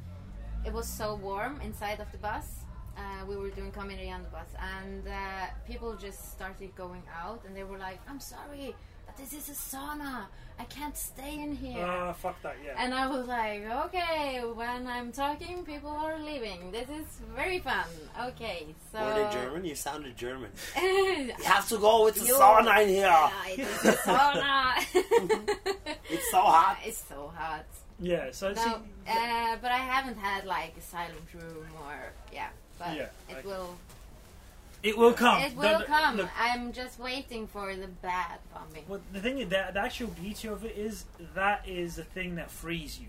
[SPEAKER 5] It was so warm inside of the bus. Uh, we were doing comedy on the bus, and uh, people just started going out, and they were like, "I'm sorry, but this is a sauna. I can't stay in here."
[SPEAKER 8] Ah, fuck that. Yeah.
[SPEAKER 5] And I was like, okay, when I'm talking, people are leaving. This is very fun. Okay, so.
[SPEAKER 3] Were they German? You sounded German.
[SPEAKER 5] German?
[SPEAKER 3] You have to go. It's a
[SPEAKER 5] You-
[SPEAKER 3] sauna in here.
[SPEAKER 5] it's a
[SPEAKER 8] Mm-hmm.
[SPEAKER 5] sauna.
[SPEAKER 3] It's so hot.
[SPEAKER 5] It's so hot.
[SPEAKER 8] yeah. So,
[SPEAKER 5] No,
[SPEAKER 8] so-
[SPEAKER 5] uh, but I haven't had like a silent room or yeah. But
[SPEAKER 8] Yeah,
[SPEAKER 5] it
[SPEAKER 8] I-
[SPEAKER 5] will.
[SPEAKER 8] it will come.
[SPEAKER 5] It
[SPEAKER 8] Don't-
[SPEAKER 5] will
[SPEAKER 8] don't-
[SPEAKER 5] come.
[SPEAKER 8] look,
[SPEAKER 5] I'm just waiting for the bad bombing.
[SPEAKER 8] Well, the thing is, the, the actual beauty of it is that is the thing that frees you,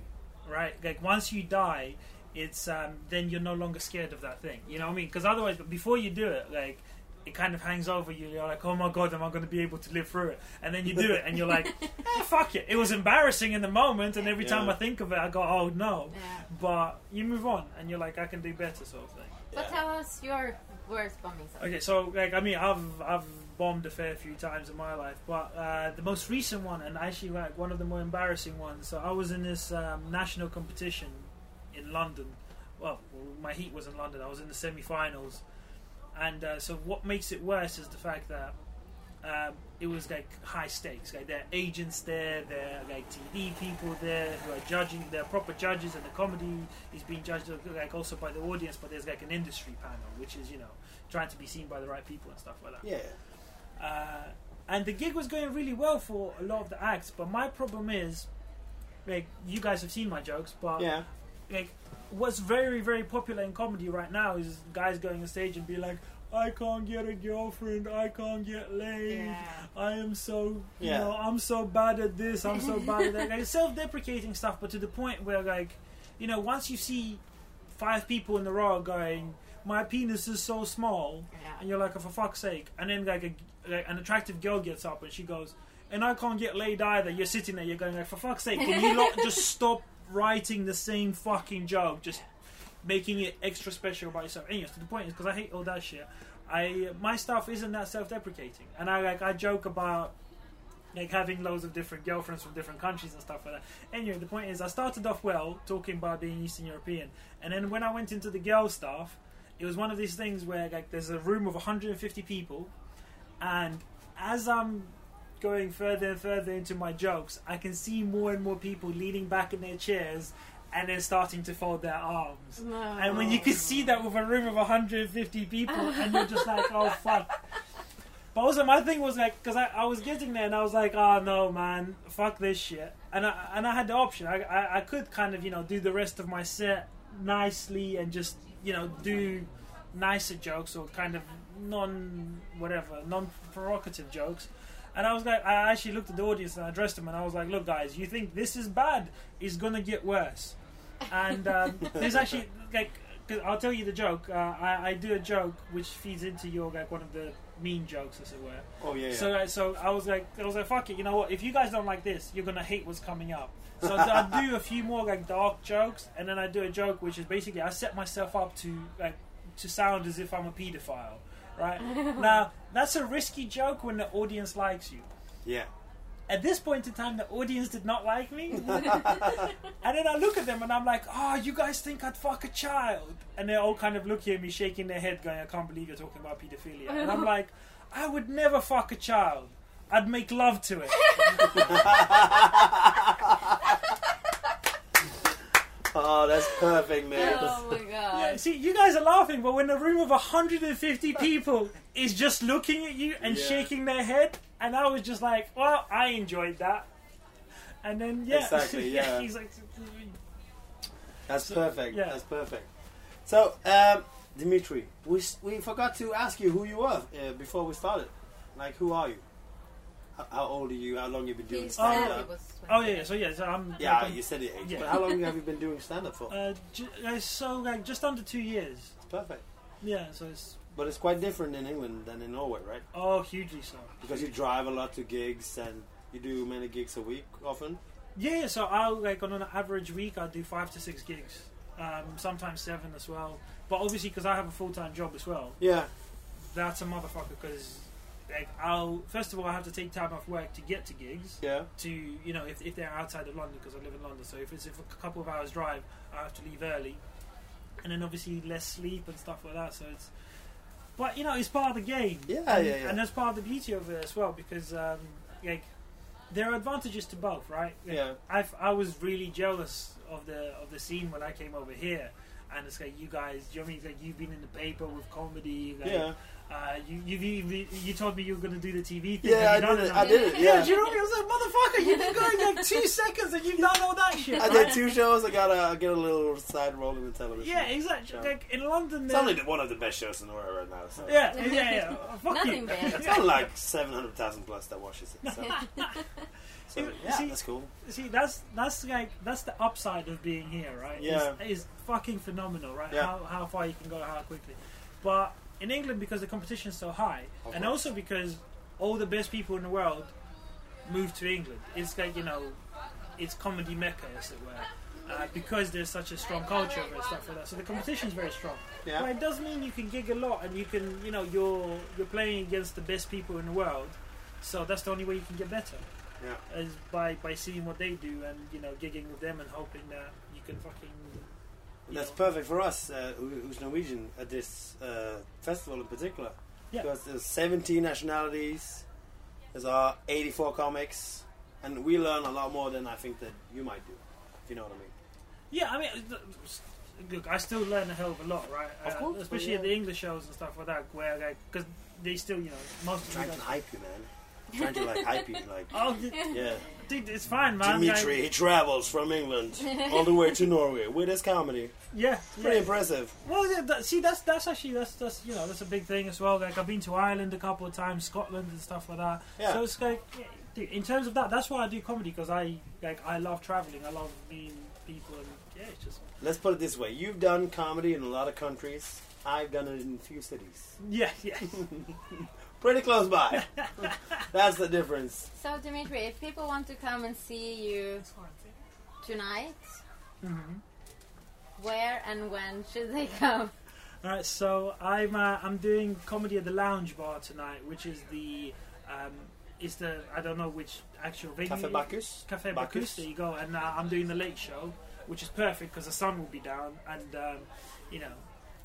[SPEAKER 8] right? Like once you die, it's um, then you're no longer scared of that thing. You know what I mean? Because otherwise, but before you do it, like it kind of hangs over you. You're like, oh my god, am I going to be able to live through it? And then you do it, and you're like, eh, fuck it. It was embarrassing in the moment, and every time
[SPEAKER 3] Yeah.
[SPEAKER 8] I think of it, I go, oh no.
[SPEAKER 5] Yeah.
[SPEAKER 8] But you move on, and you're like, I can do better, sort of thing.
[SPEAKER 5] But tell us your worst bombing. story.
[SPEAKER 8] Okay, so like I mean, I've I've bombed a fair few times in my life, but uh, the most recent one, and actually like one of the more embarrassing ones. So I was in this um, national competition in London. Well, my heat was in London. I was in the semi-finals, and uh, so what makes it worse is the fact that um, it was like high stakes. Like there are agents there, there are like TV people there who are judging. There are proper judges, and the comedy is being judged like also by the audience. But there's like an industry panel, which is you know trying to be seen by the right people and stuff like that.
[SPEAKER 3] Yeah.
[SPEAKER 8] Uh, and the gig was going really well for a lot of the acts. But my problem is, like you guys have seen my jokes, but
[SPEAKER 3] Yeah.
[SPEAKER 8] like what's very very popular in comedy right now is guys going on stage and be like i can't get a girlfriend i can't get laid
[SPEAKER 5] Yeah.
[SPEAKER 8] i am so
[SPEAKER 3] Yeah.
[SPEAKER 8] you know i'm so bad at this i'm so bad at that like it's self-deprecating stuff but to the point where like you know once you see five people in a row going my penis is so small and
[SPEAKER 5] Yeah.
[SPEAKER 8] you're like, oh, for fuck's sake. And then like, a, like an attractive girl gets up and she goes, and I can't get laid either. You're sitting there, you're going like, for fuck's sake, can you lot just stop writing the same fucking joke, just making it extra special about yourself. Anyways, to the point is because I hate all that shit. I my stuff isn't that self-deprecating, and I like I joke about like having loads of different girlfriends from different countries and stuff like that. Anyway, the point is, I started off well talking about being Eastern European, and then when I went into the girl stuff, it was one of these things where like there's a room of 150 people, and as I'm going further and further into my jokes, I can see more and more people leaning back in their chairs and then starting to fold their arms.
[SPEAKER 5] No.
[SPEAKER 8] And when you can see that with a room of 150 people, and you're just like, oh fuck. But also, my thing was like, because I, I was getting there and I was like, oh no, man, fuck this shit. And I, and I had the option. I, I, I could kind of, you know, do the rest of my set nicely and just, you know, do nicer jokes or kind of non whatever, non provocative jokes. And I was like, I actually looked at the audience and I addressed them and I was like, look, guys, you think this is bad? It's gonna get worse. And um, there's actually like, i I'll tell you the joke. Uh, I, I do a joke which feeds into your like one of the mean jokes, as it were.
[SPEAKER 3] Oh yeah. yeah.
[SPEAKER 8] So, like, so I was like, I was like, fuck it. You know what? If you guys don't like this, you're gonna hate what's coming up. So I I do a few more like dark jokes, and then I do a joke which is basically I set myself up to like to sound as if I'm a paedophile, right? now that's a risky joke when the audience likes you.
[SPEAKER 3] yeah.
[SPEAKER 8] At this point in time, the audience did not like me, and then I look at them and I'm like, "Oh, you guys think I'd fuck a child?" And they're all kind of looking at me, shaking their head, going, "I can't believe you're talking about paedophilia." And I'm like, "I would never fuck a child. I'd make love to it."
[SPEAKER 3] Oh, that's perfect, man.
[SPEAKER 5] Oh my
[SPEAKER 8] Yeah,
[SPEAKER 5] god.
[SPEAKER 8] Uh, see, you guys are laughing, but when a room of 150 people is just looking at you and
[SPEAKER 3] Yeah.
[SPEAKER 8] shaking their head, and I was just like, well, I enjoyed that. And then, yeah.
[SPEAKER 3] Exactly, yeah.
[SPEAKER 8] he's like,
[SPEAKER 3] That's perfect.
[SPEAKER 8] yeah.
[SPEAKER 3] That's perfect. So, um, Dimitri, we s- we forgot to ask you who you were uh, before we started. Like, who are you? How, how old are you? How long you been doing
[SPEAKER 5] He
[SPEAKER 3] stand
[SPEAKER 5] said
[SPEAKER 3] up?
[SPEAKER 5] he was
[SPEAKER 8] oh, yeah, yeah, so yeah, so I'm.
[SPEAKER 3] yeah,
[SPEAKER 8] like, I'm-
[SPEAKER 3] you said the age.
[SPEAKER 8] Yeah.
[SPEAKER 3] But how long have you been doing stand up for?
[SPEAKER 8] uh, ju- uh, so, like, just under two years.
[SPEAKER 3] it's perfect.
[SPEAKER 8] Yeah, so it's.
[SPEAKER 3] But it's quite different in England than in Norway, right?
[SPEAKER 8] Oh, hugely so.
[SPEAKER 3] Because you drive a lot to gigs and you do many gigs a week often.
[SPEAKER 8] Yeah, yeah, so I'll like on an average week I do five to six gigs, um, sometimes seven as well. But obviously, because I have a full time job as well,
[SPEAKER 3] Yeah.
[SPEAKER 8] that's a motherfucker. Because like I'll first of all I have to take time off work to get to gigs.
[SPEAKER 3] Yeah.
[SPEAKER 8] To you know if, if they're outside of London because I live in London, so if it's if a couple of hours drive, I have to leave early, and then obviously less sleep and stuff like that. So it's but you know it's part of the game.
[SPEAKER 3] Yeah,
[SPEAKER 8] and,
[SPEAKER 3] yeah, yeah.
[SPEAKER 8] And that's part of the beauty of it as well because um, like there are advantages to both, right? Like,
[SPEAKER 3] Yeah.
[SPEAKER 8] I've, I was really jealous of the of the scene when I came over here, and it's like you guys, you know what I mean? It's like you've been in the paper with comedy. Like,
[SPEAKER 3] Yeah.
[SPEAKER 8] Uh, you you you you told me you were gonna do the TV thing.
[SPEAKER 3] Yeah, I
[SPEAKER 8] and you
[SPEAKER 3] did
[SPEAKER 8] done
[SPEAKER 3] it. I did it.
[SPEAKER 8] Yeah,
[SPEAKER 3] Yeah.
[SPEAKER 8] do you know what I mean? I was like, motherfucker, you've been going like two seconds and you've done all that shit.
[SPEAKER 3] I
[SPEAKER 8] right?
[SPEAKER 3] did two shows. I got a I get a little side role in the television.
[SPEAKER 8] Yeah, exactly.
[SPEAKER 3] Yeah.
[SPEAKER 8] Like in London,
[SPEAKER 3] It's
[SPEAKER 8] there-
[SPEAKER 3] only the- one of the best shows in the world right now. So.
[SPEAKER 8] yeah, yeah, yeah. yeah. Fuck
[SPEAKER 5] Nothing
[SPEAKER 8] you.
[SPEAKER 5] bad.
[SPEAKER 3] It's not like 700,000 plus that watches it. So, so
[SPEAKER 8] You
[SPEAKER 3] yeah,
[SPEAKER 8] see-
[SPEAKER 3] that's cool.
[SPEAKER 8] See, that's that's like that's the upside of being here, right?
[SPEAKER 3] Yeah.
[SPEAKER 8] is, is fucking phenomenal, right?
[SPEAKER 3] Yeah.
[SPEAKER 8] How how far you can go, how quickly. But in England, because the competition's so high,
[SPEAKER 3] Of
[SPEAKER 8] and
[SPEAKER 3] course.
[SPEAKER 8] also because all the best people in the world move to England, it's like you know, it's comedy mecca, as it were. Uh, because there's such a strong culture and stuff like that, so the competition's very strong. But
[SPEAKER 3] Yeah.
[SPEAKER 8] it does mean you can gig a lot, and you can, you know, you're you're playing against the best people in the world, so that's the only way you can get better
[SPEAKER 3] Yeah.
[SPEAKER 8] is by by seeing what they do and you know gigging with them and hoping that you can fucking. you
[SPEAKER 3] That's
[SPEAKER 8] know.
[SPEAKER 3] perfect for us, uh, who- who's Norwegian, at this uh, festival in particular.
[SPEAKER 8] Yeah.
[SPEAKER 3] Because there's 17 nationalities, There's uh, 84 comics, and we learn a lot more than I think that you might do. If you know what I mean.
[SPEAKER 8] Yeah, I mean, th- look, I still learn a hell of a lot, right? Uh,
[SPEAKER 3] Of course,
[SPEAKER 8] especially
[SPEAKER 3] yeah.
[SPEAKER 8] at the English shows and stuff like that, where like because they still, you know, most of
[SPEAKER 3] Trying
[SPEAKER 8] them-
[SPEAKER 3] to hype you, man. Trying to like hype you, like
[SPEAKER 8] Oh, d-
[SPEAKER 3] yeah.
[SPEAKER 8] dude, it's fine, man.
[SPEAKER 3] Dimitri,
[SPEAKER 8] Like,
[SPEAKER 3] he travels from England all the way to Norway with his comedy.
[SPEAKER 8] yeah,
[SPEAKER 3] Pretty
[SPEAKER 8] yeah.
[SPEAKER 3] impressive.
[SPEAKER 8] Well, yeah, that, see, that's that's actually that's that's you know that's a big thing as well. Like I've been to Ireland a couple of times, Scotland and stuff like that.
[SPEAKER 3] Yeah.
[SPEAKER 8] So it's like, yeah, dude, in terms of that, that's why I do comedy because I like I love traveling, I love meeting people, and yeah, it's just
[SPEAKER 3] Let's put it this way: you've done comedy in a lot of countries. I've done it in a few cities,
[SPEAKER 8] yeah, yeah.
[SPEAKER 3] pretty close by. That's the difference.
[SPEAKER 5] So, Dimitri, if people want to come and see you tonight,
[SPEAKER 3] Mm-hmm.
[SPEAKER 8] Mhm.
[SPEAKER 5] where and when should they come?
[SPEAKER 8] All right, so I'm uh, I'm doing comedy at the Lounge Bar tonight, which is the um, is the I don't know which actual venue.
[SPEAKER 3] Cafe Bacchus.
[SPEAKER 8] Cafe
[SPEAKER 3] Bacchus.
[SPEAKER 8] Bacchus. There you go, and uh, I'm doing the late show, which is perfect because the sun will be down, and um, you know,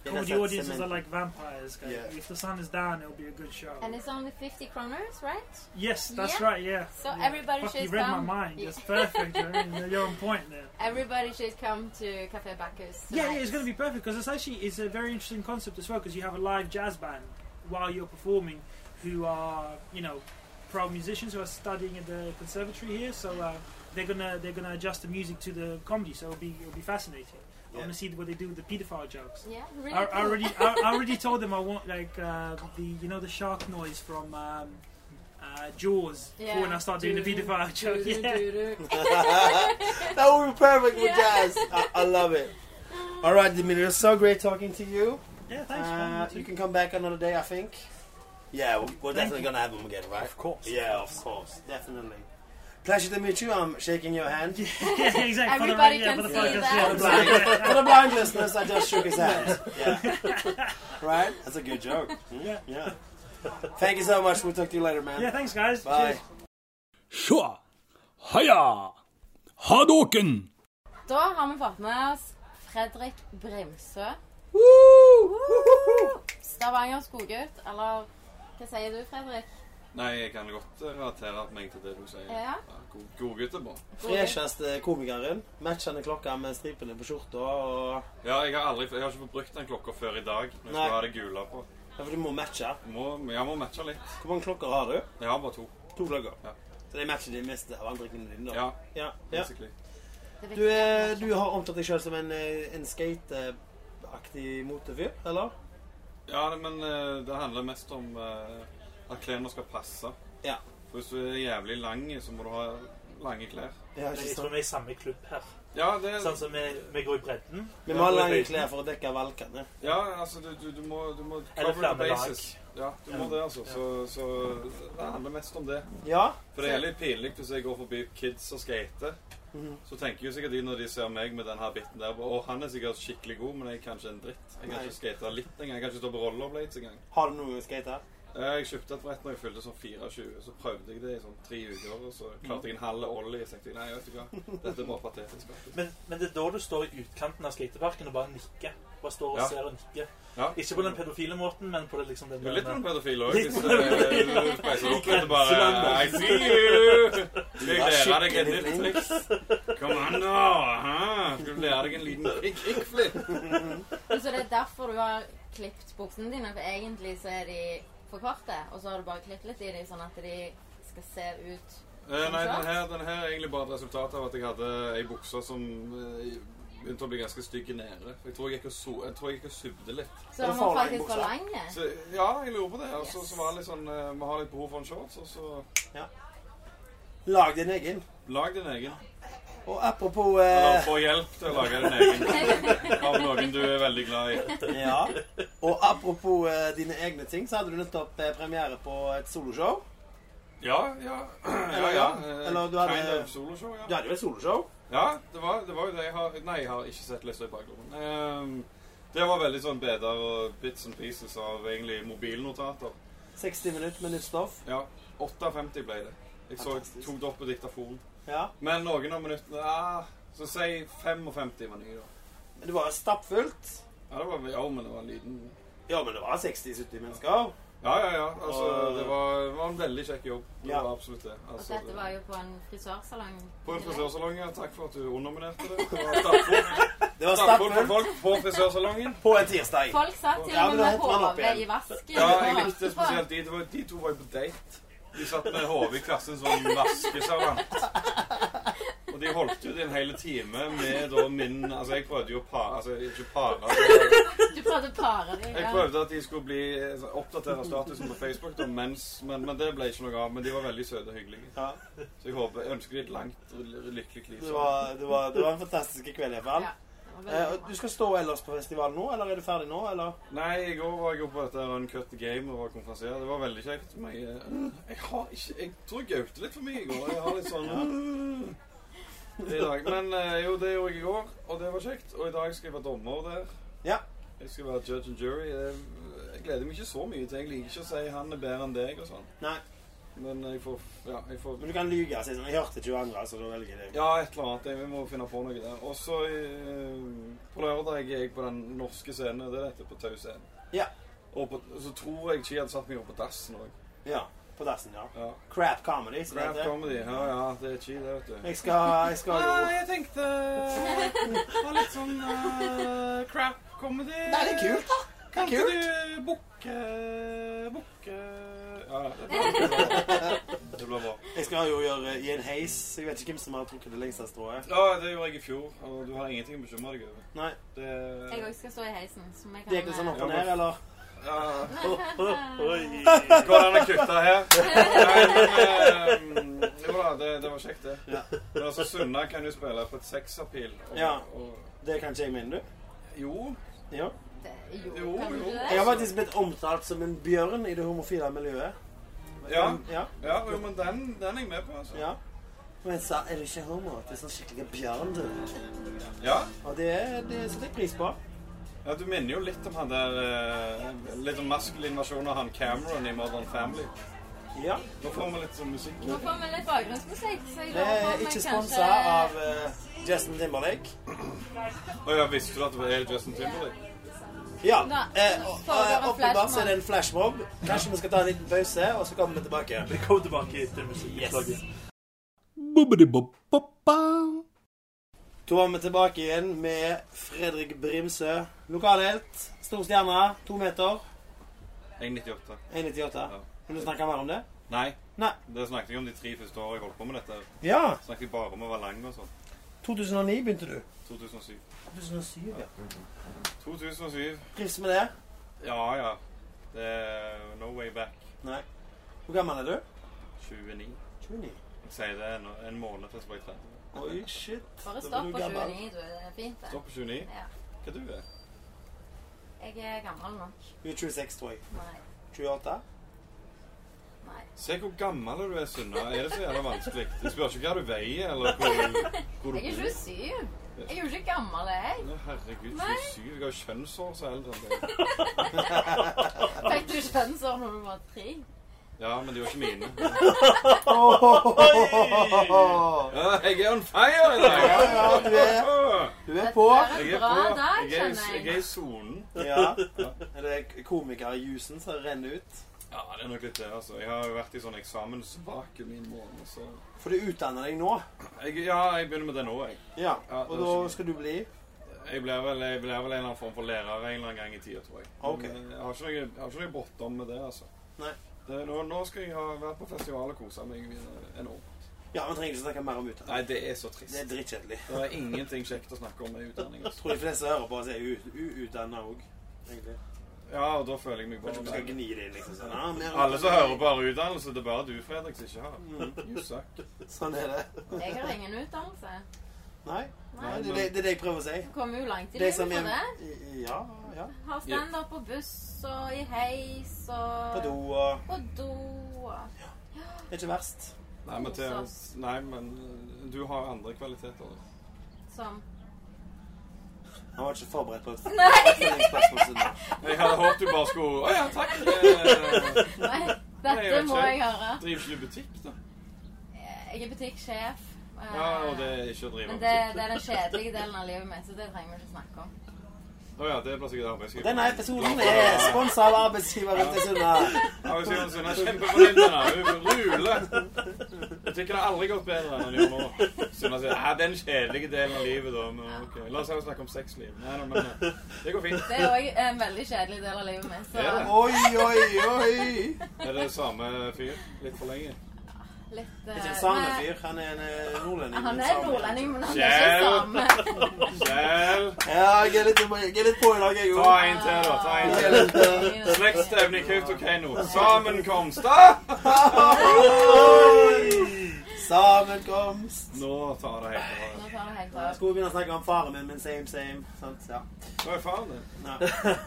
[SPEAKER 3] Yeah, that's
[SPEAKER 8] comedy
[SPEAKER 3] that
[SPEAKER 8] audiences
[SPEAKER 3] cement.
[SPEAKER 8] are like vampires. guys.
[SPEAKER 3] Yeah.
[SPEAKER 8] If the sun is down, it'll be a good show.
[SPEAKER 5] And it's only 50 kroners, right?
[SPEAKER 8] yes, that's
[SPEAKER 5] Yeah.
[SPEAKER 8] right. Yeah.
[SPEAKER 5] So
[SPEAKER 8] Yeah.
[SPEAKER 5] everybody
[SPEAKER 8] Fuck,
[SPEAKER 5] should
[SPEAKER 8] you read
[SPEAKER 5] come.
[SPEAKER 8] my mind.
[SPEAKER 5] Yeah.
[SPEAKER 8] That's perfect. I mean, you're on point there.
[SPEAKER 5] Everybody should come to Cafe Bacchus.
[SPEAKER 8] Yeah, yeah, it's going to be perfect because it's actually it's a very interesting concept as well because you have a live jazz band while you're performing who are you know pro musicians who are studying at the conservatory here, so uh, they're gonna they're gonna adjust the music to the comedy, so it'll be it'll be fascinating. I want
[SPEAKER 3] Yeah.
[SPEAKER 8] to see what they do with the pedophile jokes.
[SPEAKER 5] Yeah, really.
[SPEAKER 8] I, I
[SPEAKER 5] cool.
[SPEAKER 8] already I, I already told them I want like uh, the you know the shark noise from. Um, uh, Jaws for when I start doing the
[SPEAKER 5] Doo-doo,
[SPEAKER 8] pedophile joke.
[SPEAKER 5] doo-doo,
[SPEAKER 8] Yeah.
[SPEAKER 5] doo-doo.
[SPEAKER 3] that would be perfect with
[SPEAKER 5] Yeah.
[SPEAKER 3] jazz. I, I love it. All right, Dimitri, it was so great talking to you.
[SPEAKER 8] yeah, thanks.
[SPEAKER 3] Uh,
[SPEAKER 8] man.
[SPEAKER 3] you can come back another day, I think. Yeah, we- we're definitely gonna have him again, right?
[SPEAKER 4] Of course.
[SPEAKER 3] Yeah, of course, definitely. Pleasure to meet you. I'm shaking your hand.
[SPEAKER 8] yeah, exactly. for the-
[SPEAKER 5] Everybody
[SPEAKER 8] yeah,
[SPEAKER 5] can
[SPEAKER 8] for the
[SPEAKER 5] see
[SPEAKER 8] podcast,
[SPEAKER 5] that.
[SPEAKER 8] yeah,
[SPEAKER 3] For the blind, for the blind listeners, I just shook his hand. Yeah. Right? That's a good joke. Hmm?
[SPEAKER 8] Yeah.
[SPEAKER 3] Yeah. Thank you so much. We'll talk to you later, man.
[SPEAKER 8] Yeah, thanks, guys.
[SPEAKER 3] Bye.
[SPEAKER 8] Cheers.
[SPEAKER 2] Tja! Heia! Hadoken!
[SPEAKER 5] Da har vi fått med oss Fredrik Brimsø. Stavanger skoggutt, eller hva sier du, Fredrik?
[SPEAKER 1] Nei, jeg kan godt eh, relatere meg til det du sier.
[SPEAKER 5] Ja.
[SPEAKER 1] God, god gutt er bra.
[SPEAKER 3] Fresheste komikeren. Matchende klokka med stripene på skjorta. Og...
[SPEAKER 1] Ja, jeg har aldri, jeg har ikke fått brukt den klokka før i dag. Når jeg
[SPEAKER 3] Nei.
[SPEAKER 1] skal ha det gule på.
[SPEAKER 3] Ja, for du må matche.
[SPEAKER 1] Må, jeg må matche litt.
[SPEAKER 3] Hvor mange klokker har du?
[SPEAKER 1] Jeg har bare to.
[SPEAKER 3] To klokker.
[SPEAKER 1] Ja.
[SPEAKER 3] Så det er matcher de meste av antrekkene dine, da?
[SPEAKER 1] Ja,
[SPEAKER 3] ja. ja.
[SPEAKER 1] basically.
[SPEAKER 5] Det
[SPEAKER 3] Du, er, du har omtalt deg sjøl som en, eh, en skateaktig motefyr, eller?
[SPEAKER 1] Ja, det- men eh, det handler mest om eh, at klærne skal passe.
[SPEAKER 3] Ja.
[SPEAKER 1] For Hvis du er jævlig lang, så må du ha lange klær.
[SPEAKER 3] Ja,
[SPEAKER 4] Jeg tror vi er i samme klubb her.
[SPEAKER 1] Ja, det,
[SPEAKER 4] Sånn som vi, vi går i bredden.
[SPEAKER 3] Vi må ha lange klær for å dekke valkene.
[SPEAKER 1] ja altså, du, du, du må, du må
[SPEAKER 4] Eller
[SPEAKER 1] cover the
[SPEAKER 4] flammelag.
[SPEAKER 1] bases. Ja, du må det, altså. Så, så det handler mest om det.
[SPEAKER 3] Ja?
[SPEAKER 1] For det er litt pinlig hvis jeg går forbi kids og skater. Så tenker jo sikkert de når de ser meg med den habitten der Og han er sikkert skikkelig god, men jeg er kanskje en dritt. Jeg kan
[SPEAKER 3] Nei.
[SPEAKER 1] ikke skate litt engang. Jeg kan ikke stå på rollerblades engang.
[SPEAKER 3] Har du noen gang skata?
[SPEAKER 1] Eh, Jeg kjøpte et brett når jeg fylte sånn 24, så prøvde jeg det i sånn tre uker. Og så klarte jeg en halv ollie. Så tenkte jeg nei, vet du hva, dette er bare patetisk. faktisk.
[SPEAKER 4] Men, men det er da du står i utkanten av skateparken og bare nikker. Bare står og
[SPEAKER 1] Ja.
[SPEAKER 4] ser og nikker.
[SPEAKER 1] Ja.
[SPEAKER 4] Ikke på den pedofile måten, men på det liksom den
[SPEAKER 1] Du er litt på den pedofile òg.
[SPEAKER 4] Litt
[SPEAKER 1] Hvis
[SPEAKER 4] på
[SPEAKER 1] eh,
[SPEAKER 4] den
[SPEAKER 1] du speiser opp litt og bare
[SPEAKER 4] Grenseland.
[SPEAKER 1] I see you! Skal jeg
[SPEAKER 3] Ja,
[SPEAKER 1] lære deg et
[SPEAKER 3] skikkelig
[SPEAKER 1] nytt triks? Kom an, nå! hæ? Skal du lære deg en liten kick- kickflip?
[SPEAKER 5] Så det er derfor du har klippet buksene dine, for egentlig så er de for korte, og så har du bare klippet litt i dem sånn at de skal se ut
[SPEAKER 1] Eh, Nei, den her, den her er egentlig bare et resultat av at jeg hadde ei bukse som eh, begynte å bli ganske stygg nede. For Jeg tror jeg gikk og, so jeg tror jeg gikk og subde litt.
[SPEAKER 3] Er
[SPEAKER 5] Så de
[SPEAKER 3] det
[SPEAKER 5] var
[SPEAKER 3] farlig,
[SPEAKER 5] faktisk for
[SPEAKER 3] buksa?
[SPEAKER 5] lange.
[SPEAKER 1] Så ja, jeg lurer på det. Og så
[SPEAKER 5] Yes.
[SPEAKER 1] så var det litt sånn eh, Vi har litt behov for en shorts, og så
[SPEAKER 3] Lag din egen.
[SPEAKER 1] lag din egen.
[SPEAKER 3] Og apropos
[SPEAKER 1] Eller
[SPEAKER 3] eh,
[SPEAKER 1] få hjelp til å lage din egen av noen du er veldig glad i.
[SPEAKER 3] Ja. Og apropos eh, dine egne ting, så hadde du nettopp eh, premiere på et soloshow.
[SPEAKER 1] Ja, ja.
[SPEAKER 3] Eller ja.
[SPEAKER 1] ja, ja. Eh,
[SPEAKER 3] Eller du
[SPEAKER 1] Kind
[SPEAKER 3] hadde-
[SPEAKER 1] of soloshow,
[SPEAKER 3] Du
[SPEAKER 1] ja.
[SPEAKER 3] hadde jo et soloshow.
[SPEAKER 1] Ja, det var, det var jo det jeg har Nei, jeg har ikke sett Lista i bakgrunnen. Ehm, det var veldig sånn beder og bits and pieces av egentlig mobilnotater.
[SPEAKER 3] 60 minutter med nytt stoff.
[SPEAKER 1] Ja. 8.50 ble det. Jeg så
[SPEAKER 3] Fantastisk.
[SPEAKER 1] tok det opp på diktafon.
[SPEAKER 3] Ja.
[SPEAKER 1] Men noen av minuttene ja, Så si 55 var nye, da.
[SPEAKER 3] Men det var stappfullt.
[SPEAKER 1] Ja, det var, ja, men det var en liten
[SPEAKER 3] Ja, men det var 60-70 mennesker.
[SPEAKER 1] Ja, ja, ja. Altså,
[SPEAKER 3] Og-
[SPEAKER 1] det, var, det var en veldig kjekk jobb. Det
[SPEAKER 3] Ja.
[SPEAKER 1] var absolutt det.
[SPEAKER 5] Og
[SPEAKER 1] Altså,
[SPEAKER 5] dette
[SPEAKER 1] det-
[SPEAKER 5] var jo på en frisørsalong.
[SPEAKER 1] På en
[SPEAKER 5] Eller?
[SPEAKER 1] frisørsalong, ja. Takk for at du underminerte det. Stappfull
[SPEAKER 3] Det var
[SPEAKER 1] stappfull med
[SPEAKER 3] stappfull
[SPEAKER 1] folk på frisørsalongen.
[SPEAKER 3] på en tirsdag.
[SPEAKER 5] Folk satt til
[SPEAKER 3] Ja, men
[SPEAKER 5] og
[SPEAKER 3] da
[SPEAKER 5] med med
[SPEAKER 3] henter man opp
[SPEAKER 5] hodet
[SPEAKER 3] igjen.
[SPEAKER 5] i vasken.
[SPEAKER 1] Ja, jeg
[SPEAKER 5] og-
[SPEAKER 1] likte spesielt de. Det var, de to var jo på date. De satt med hodet i klassen som vaskeservant. Og de holdt ut i en hel time med da min Altså, jeg prøvde jo å pare Altså, ikke pare altså,
[SPEAKER 5] Du prøvde å pare deg.
[SPEAKER 1] Jeg
[SPEAKER 5] ja.
[SPEAKER 1] prøvde at de skulle bli altså, oppdatere statusen på Facebook, da, mens, men, men det ble ikke noe av. Men de var veldig søte og hyggelige.
[SPEAKER 3] Ja,
[SPEAKER 1] Så jeg håper, jeg ønsker de et langt og lykkelig liv.
[SPEAKER 3] det var, det, var, det var en fantastisk kveld i hvert fall.
[SPEAKER 5] Ja, det var
[SPEAKER 3] Eh,
[SPEAKER 5] veldig
[SPEAKER 3] og
[SPEAKER 5] bra.
[SPEAKER 3] du skal stå ellers på festivalen nå, eller er du ferdig nå, eller?
[SPEAKER 1] Nei, i går var jeg jo på dette Uncut Game og var konferansier. Det var veldig kjekt. Men jeg, eh, jeg har ikke Jeg tror jeg gaute litt for mye i går. Jeg har litt sånn i dag. Men eh, jo, det gjorde jeg i går, og det var kjekt. Og i dag skal jeg være dommer der.
[SPEAKER 3] Ja.
[SPEAKER 1] Jeg skal være judge and jury. Jeg, jeg gleder meg ikke så mye til. Jeg liker ikke å si 'han er bedre enn deg' og sånn.
[SPEAKER 3] Nei.
[SPEAKER 1] Men jeg får Ja, jeg får
[SPEAKER 3] Men du kan lyge og si sånn Jeg hørte 22., så da velger jeg det.
[SPEAKER 1] ja, et eller annet. Jeg- Vi må finne på noe der. Og så eh, på lørdag er jeg på den norske scenen. Det heter på Tau scene.
[SPEAKER 3] Ja.
[SPEAKER 1] Og på, så tror jeg ikke jeg hadde satt meg opp på dassen òg.
[SPEAKER 3] Ja. På dassen, ja.
[SPEAKER 1] Ja.
[SPEAKER 3] Crap comedy, som det
[SPEAKER 1] Rap
[SPEAKER 3] heter.
[SPEAKER 1] comedy. Ja, ja, det er chi, det, vet du.
[SPEAKER 3] Jeg skal, jeg skal jo
[SPEAKER 1] Ah, jeg tenkte ha litt sånn eh, crap comedy.
[SPEAKER 3] Nei, det er kult, da.
[SPEAKER 1] Kan
[SPEAKER 3] ikke kult.
[SPEAKER 1] du booke Booke Ja, ja, det blir bra. Det blir bra.
[SPEAKER 3] Jeg skal jo gjøre i en heis. Jeg vet ikke hvem som har trukket det lengste strået.
[SPEAKER 1] Ja, det gjorde jeg i fjor, og du har ingenting å bekymre deg over.
[SPEAKER 3] Nei.
[SPEAKER 1] Det
[SPEAKER 5] Jeg òg skal stå i heisen. Som jeg kan,
[SPEAKER 3] Det gikk litt sånn opp
[SPEAKER 1] Ja,
[SPEAKER 3] og
[SPEAKER 1] men-
[SPEAKER 3] ned, eller?
[SPEAKER 1] ja.
[SPEAKER 4] Oi.
[SPEAKER 1] Går det an å kutte her? Nei, men, eh, jo da, det, det var kjekt, det.
[SPEAKER 3] Ja.
[SPEAKER 1] Men altså, Sunna kan jo spille på et sexappeal. og-
[SPEAKER 3] Ja.
[SPEAKER 1] og-
[SPEAKER 3] Det kan ikke jeg mene, du.
[SPEAKER 1] Jo.
[SPEAKER 3] Ja.
[SPEAKER 5] Det- eh, Jo,
[SPEAKER 1] Jo,
[SPEAKER 5] kan du
[SPEAKER 1] jo.
[SPEAKER 5] ikke
[SPEAKER 3] Jeg
[SPEAKER 5] det?
[SPEAKER 3] har faktisk blitt omtalt som en bjørn i det homofile miljøet.
[SPEAKER 1] Ja,
[SPEAKER 3] ja,
[SPEAKER 1] ja jo, men den, den er jeg med på, altså.
[SPEAKER 3] ja. Men jeg sa 'er du ikke homo?' Det er sånn skikkelig bjørn, du.
[SPEAKER 1] Ja.
[SPEAKER 3] Og det, det setter jeg pris på.
[SPEAKER 1] Ja, Du minner jo litt om han der eh, Litt om maskulin versjon av han Cameron i Modern Family.
[SPEAKER 3] Ja.
[SPEAKER 1] Nå får vi litt sånn musikk.
[SPEAKER 5] Nå får vi litt bakgrunnsmusikk, så jeg
[SPEAKER 3] Det
[SPEAKER 5] lurer på
[SPEAKER 3] er
[SPEAKER 5] om jeg
[SPEAKER 3] ikke
[SPEAKER 5] kanskje
[SPEAKER 3] sponsa av eh, Justin Timberlake.
[SPEAKER 1] Å ja, visste du at det er Justin Timberlake?
[SPEAKER 3] Ja.
[SPEAKER 5] Da,
[SPEAKER 3] eh, og-
[SPEAKER 5] foregår en
[SPEAKER 3] eh, Åpenbart så
[SPEAKER 5] flashmob.
[SPEAKER 3] er det en flashmob. Kanskje vi skal ta en liten pause, og så kommer vi tilbake.
[SPEAKER 4] Vi kommer tilbake etter musikkslaget.
[SPEAKER 2] Bobbidi-bob-bop-ba.
[SPEAKER 3] Da var vi tilbake igjen med Fredrik Brimsø. Lokalhelt. Stor stjerne. To meter.
[SPEAKER 1] Jeg er 98.
[SPEAKER 3] 1,98. Vil du snakke mer om det?
[SPEAKER 1] Nei.
[SPEAKER 3] Nei.
[SPEAKER 1] Det snakket jeg om de tre første årene jeg holdt på med dette.
[SPEAKER 3] Ja.
[SPEAKER 1] Snakket jeg bare om å være lang og sånn.
[SPEAKER 3] 2009 begynte du.
[SPEAKER 1] 2007.
[SPEAKER 3] 2007, ja.
[SPEAKER 1] 2007.
[SPEAKER 3] Trives med det?
[SPEAKER 1] Ja, ja. Det er no way back.
[SPEAKER 3] Nei. Hvor gammel er du?
[SPEAKER 1] 29.
[SPEAKER 3] 29.
[SPEAKER 1] Jeg sier det en, en måned til jeg blir 30.
[SPEAKER 3] Oi, shit.
[SPEAKER 5] Bare
[SPEAKER 3] Da
[SPEAKER 5] stå
[SPEAKER 3] blir du
[SPEAKER 5] på
[SPEAKER 3] gammel.
[SPEAKER 5] 29, du. Det er fint, det.
[SPEAKER 1] Står på 29.
[SPEAKER 5] Ja.
[SPEAKER 1] Hva du er?
[SPEAKER 5] Jeg er gammel nok.
[SPEAKER 3] Du er 26, tror jeg.
[SPEAKER 5] Nei.
[SPEAKER 3] 28?
[SPEAKER 5] Nei.
[SPEAKER 1] Se hvor gammel du er, Sunna. Er det så jævla vanskelig? Jeg spør ikke hva du veier, eller hvor, hvor du
[SPEAKER 5] Jeg er
[SPEAKER 1] bor.
[SPEAKER 5] 27. Jeg er jo ikke gammel, jeg.
[SPEAKER 1] Å, Herregud,
[SPEAKER 5] Nei.
[SPEAKER 1] 27. Jeg har jo kjønnsår så eldre enn deg.
[SPEAKER 5] Fikk du kjønnsår sånn når du var tre?
[SPEAKER 1] Ja, men de var ikke mine.
[SPEAKER 3] Oi!
[SPEAKER 1] Ja, jeg er on fire i dag!
[SPEAKER 3] Ja, ja, du er, du er på.
[SPEAKER 5] Det
[SPEAKER 1] Jeg er
[SPEAKER 5] er en bra
[SPEAKER 1] på.
[SPEAKER 5] dag,
[SPEAKER 1] Jeg er,
[SPEAKER 5] skjønner
[SPEAKER 1] jeg er
[SPEAKER 5] jeg.
[SPEAKER 1] i sonen.
[SPEAKER 3] Ja. Er det komikerjusen som renner ut?
[SPEAKER 1] Ja, det er nok litt det, altså. Jeg har jo vært i sånn eksamensvakuum i en måned, så
[SPEAKER 3] For du utdanner deg nå.
[SPEAKER 1] jeg, Ja, jeg begynner med det nå, jeg.
[SPEAKER 3] Ja.
[SPEAKER 1] Ja,
[SPEAKER 3] Og da
[SPEAKER 1] det var skikkelig.
[SPEAKER 3] skal du bli
[SPEAKER 1] Jeg blir vel, jeg blir vel en eller annen form for lærer en eller annen gang i tida, tror jeg. Men,
[SPEAKER 3] Ok.
[SPEAKER 1] eh, Jeg har ikke noe, jeg har ikke noe bottom med det, altså.
[SPEAKER 3] Nei.
[SPEAKER 1] Det, nå, nå skal jeg ha vært på festival og kosa meg i en år.
[SPEAKER 3] Ja, vi trenger ikke snakke mer om utdanning.
[SPEAKER 1] Nei, det er så trist.
[SPEAKER 3] Det er drittkjedelig.
[SPEAKER 1] Det er ingenting kjekt å snakke om i utdanning.
[SPEAKER 3] Jeg
[SPEAKER 1] Altså.
[SPEAKER 3] tror de fleste som hører på, oss er u- uutdanna òg.
[SPEAKER 1] Ja, og da føler jeg meg
[SPEAKER 3] Kanskje vi skal
[SPEAKER 1] bare
[SPEAKER 3] gni det inn, liksom. Sånn, ja, mer
[SPEAKER 1] Alle som hører på har utdannelse, det er bare du, Fredrik, som ikke har.
[SPEAKER 3] Mm,
[SPEAKER 1] You suck.
[SPEAKER 3] sånn er det.
[SPEAKER 5] Jeg har ingen utdannelse.
[SPEAKER 3] Nei, nei
[SPEAKER 5] Nei.
[SPEAKER 3] det, er det- det er det jeg prøver å si.
[SPEAKER 5] Du kommer jo langt i
[SPEAKER 3] Det
[SPEAKER 5] livet
[SPEAKER 3] som
[SPEAKER 5] for
[SPEAKER 3] er
[SPEAKER 5] det.
[SPEAKER 3] Ja, ja.
[SPEAKER 5] Har standup på buss og i heis og
[SPEAKER 3] På do og
[SPEAKER 5] På do og
[SPEAKER 3] Det er ikke verst.
[SPEAKER 1] Nei, men, Theo, nei, men eh, du har andre kvaliteter. da.
[SPEAKER 5] som
[SPEAKER 3] Han var ikke forberedt på et
[SPEAKER 5] Nei!
[SPEAKER 3] spørsmål. Siden.
[SPEAKER 1] Jeg hadde håpet du bare skulle Å ja, takk! Eh,
[SPEAKER 5] Nei,
[SPEAKER 1] Nei, jeg
[SPEAKER 5] dette
[SPEAKER 1] vet
[SPEAKER 5] må
[SPEAKER 1] ikke.
[SPEAKER 5] jeg høre.
[SPEAKER 1] Driver ikke du butikk, da?
[SPEAKER 5] Jeg er butikksjef. eh,
[SPEAKER 1] Ja, og det er ikke å drive
[SPEAKER 5] Men
[SPEAKER 1] med
[SPEAKER 5] det,
[SPEAKER 1] butikk.
[SPEAKER 5] det er den kjedelige delen av livet mitt, så det trenger vi ikke snakke om.
[SPEAKER 1] Å ja, det blir sikkert arbeidsgiver.
[SPEAKER 3] Denne episoden er sponsa av arbeidsgiver rundt i Sunna.
[SPEAKER 1] Arbeidsgiveren sin er kjempefornøyd med henne. Hun ruler. Jeg tykker det har aldri gått bedre enn hun gjør nå. Sunna sier ja, den kjedelige delen av livet, da. Men, ok. La oss heller snakke om sexliv. Nei, nei, men eh, det går fint.
[SPEAKER 5] Det er òg en veldig kjedelig del av livet mitt. Så
[SPEAKER 1] Ja.
[SPEAKER 7] Oi, oi, oi!
[SPEAKER 1] Er det samme fyr? Litt for lenge?
[SPEAKER 5] litt
[SPEAKER 3] Ikke
[SPEAKER 5] eh,
[SPEAKER 3] en samme
[SPEAKER 5] men-
[SPEAKER 3] fyr, han er en eh, nordlending.
[SPEAKER 5] Han
[SPEAKER 3] men
[SPEAKER 5] er
[SPEAKER 3] same.
[SPEAKER 5] nordlending, men han er ikke
[SPEAKER 1] Kjell.
[SPEAKER 5] same.
[SPEAKER 1] Vel,
[SPEAKER 3] Ja, jeg er litt, jeg er litt på i dag, jeg
[SPEAKER 1] ta
[SPEAKER 3] òg.
[SPEAKER 1] en til, da. Ta en til.
[SPEAKER 5] Ah.
[SPEAKER 1] Slektsstevne i Kautokeino. Sammenkomst, da!
[SPEAKER 3] Sammenkomst.
[SPEAKER 1] Nå tar det helt av.
[SPEAKER 5] Nå tar det helt
[SPEAKER 3] Jeg
[SPEAKER 5] av.
[SPEAKER 3] skulle begynne å snakke om faren min, men same, same. Sant? Ja.
[SPEAKER 1] Hva er faren din?
[SPEAKER 3] Nei.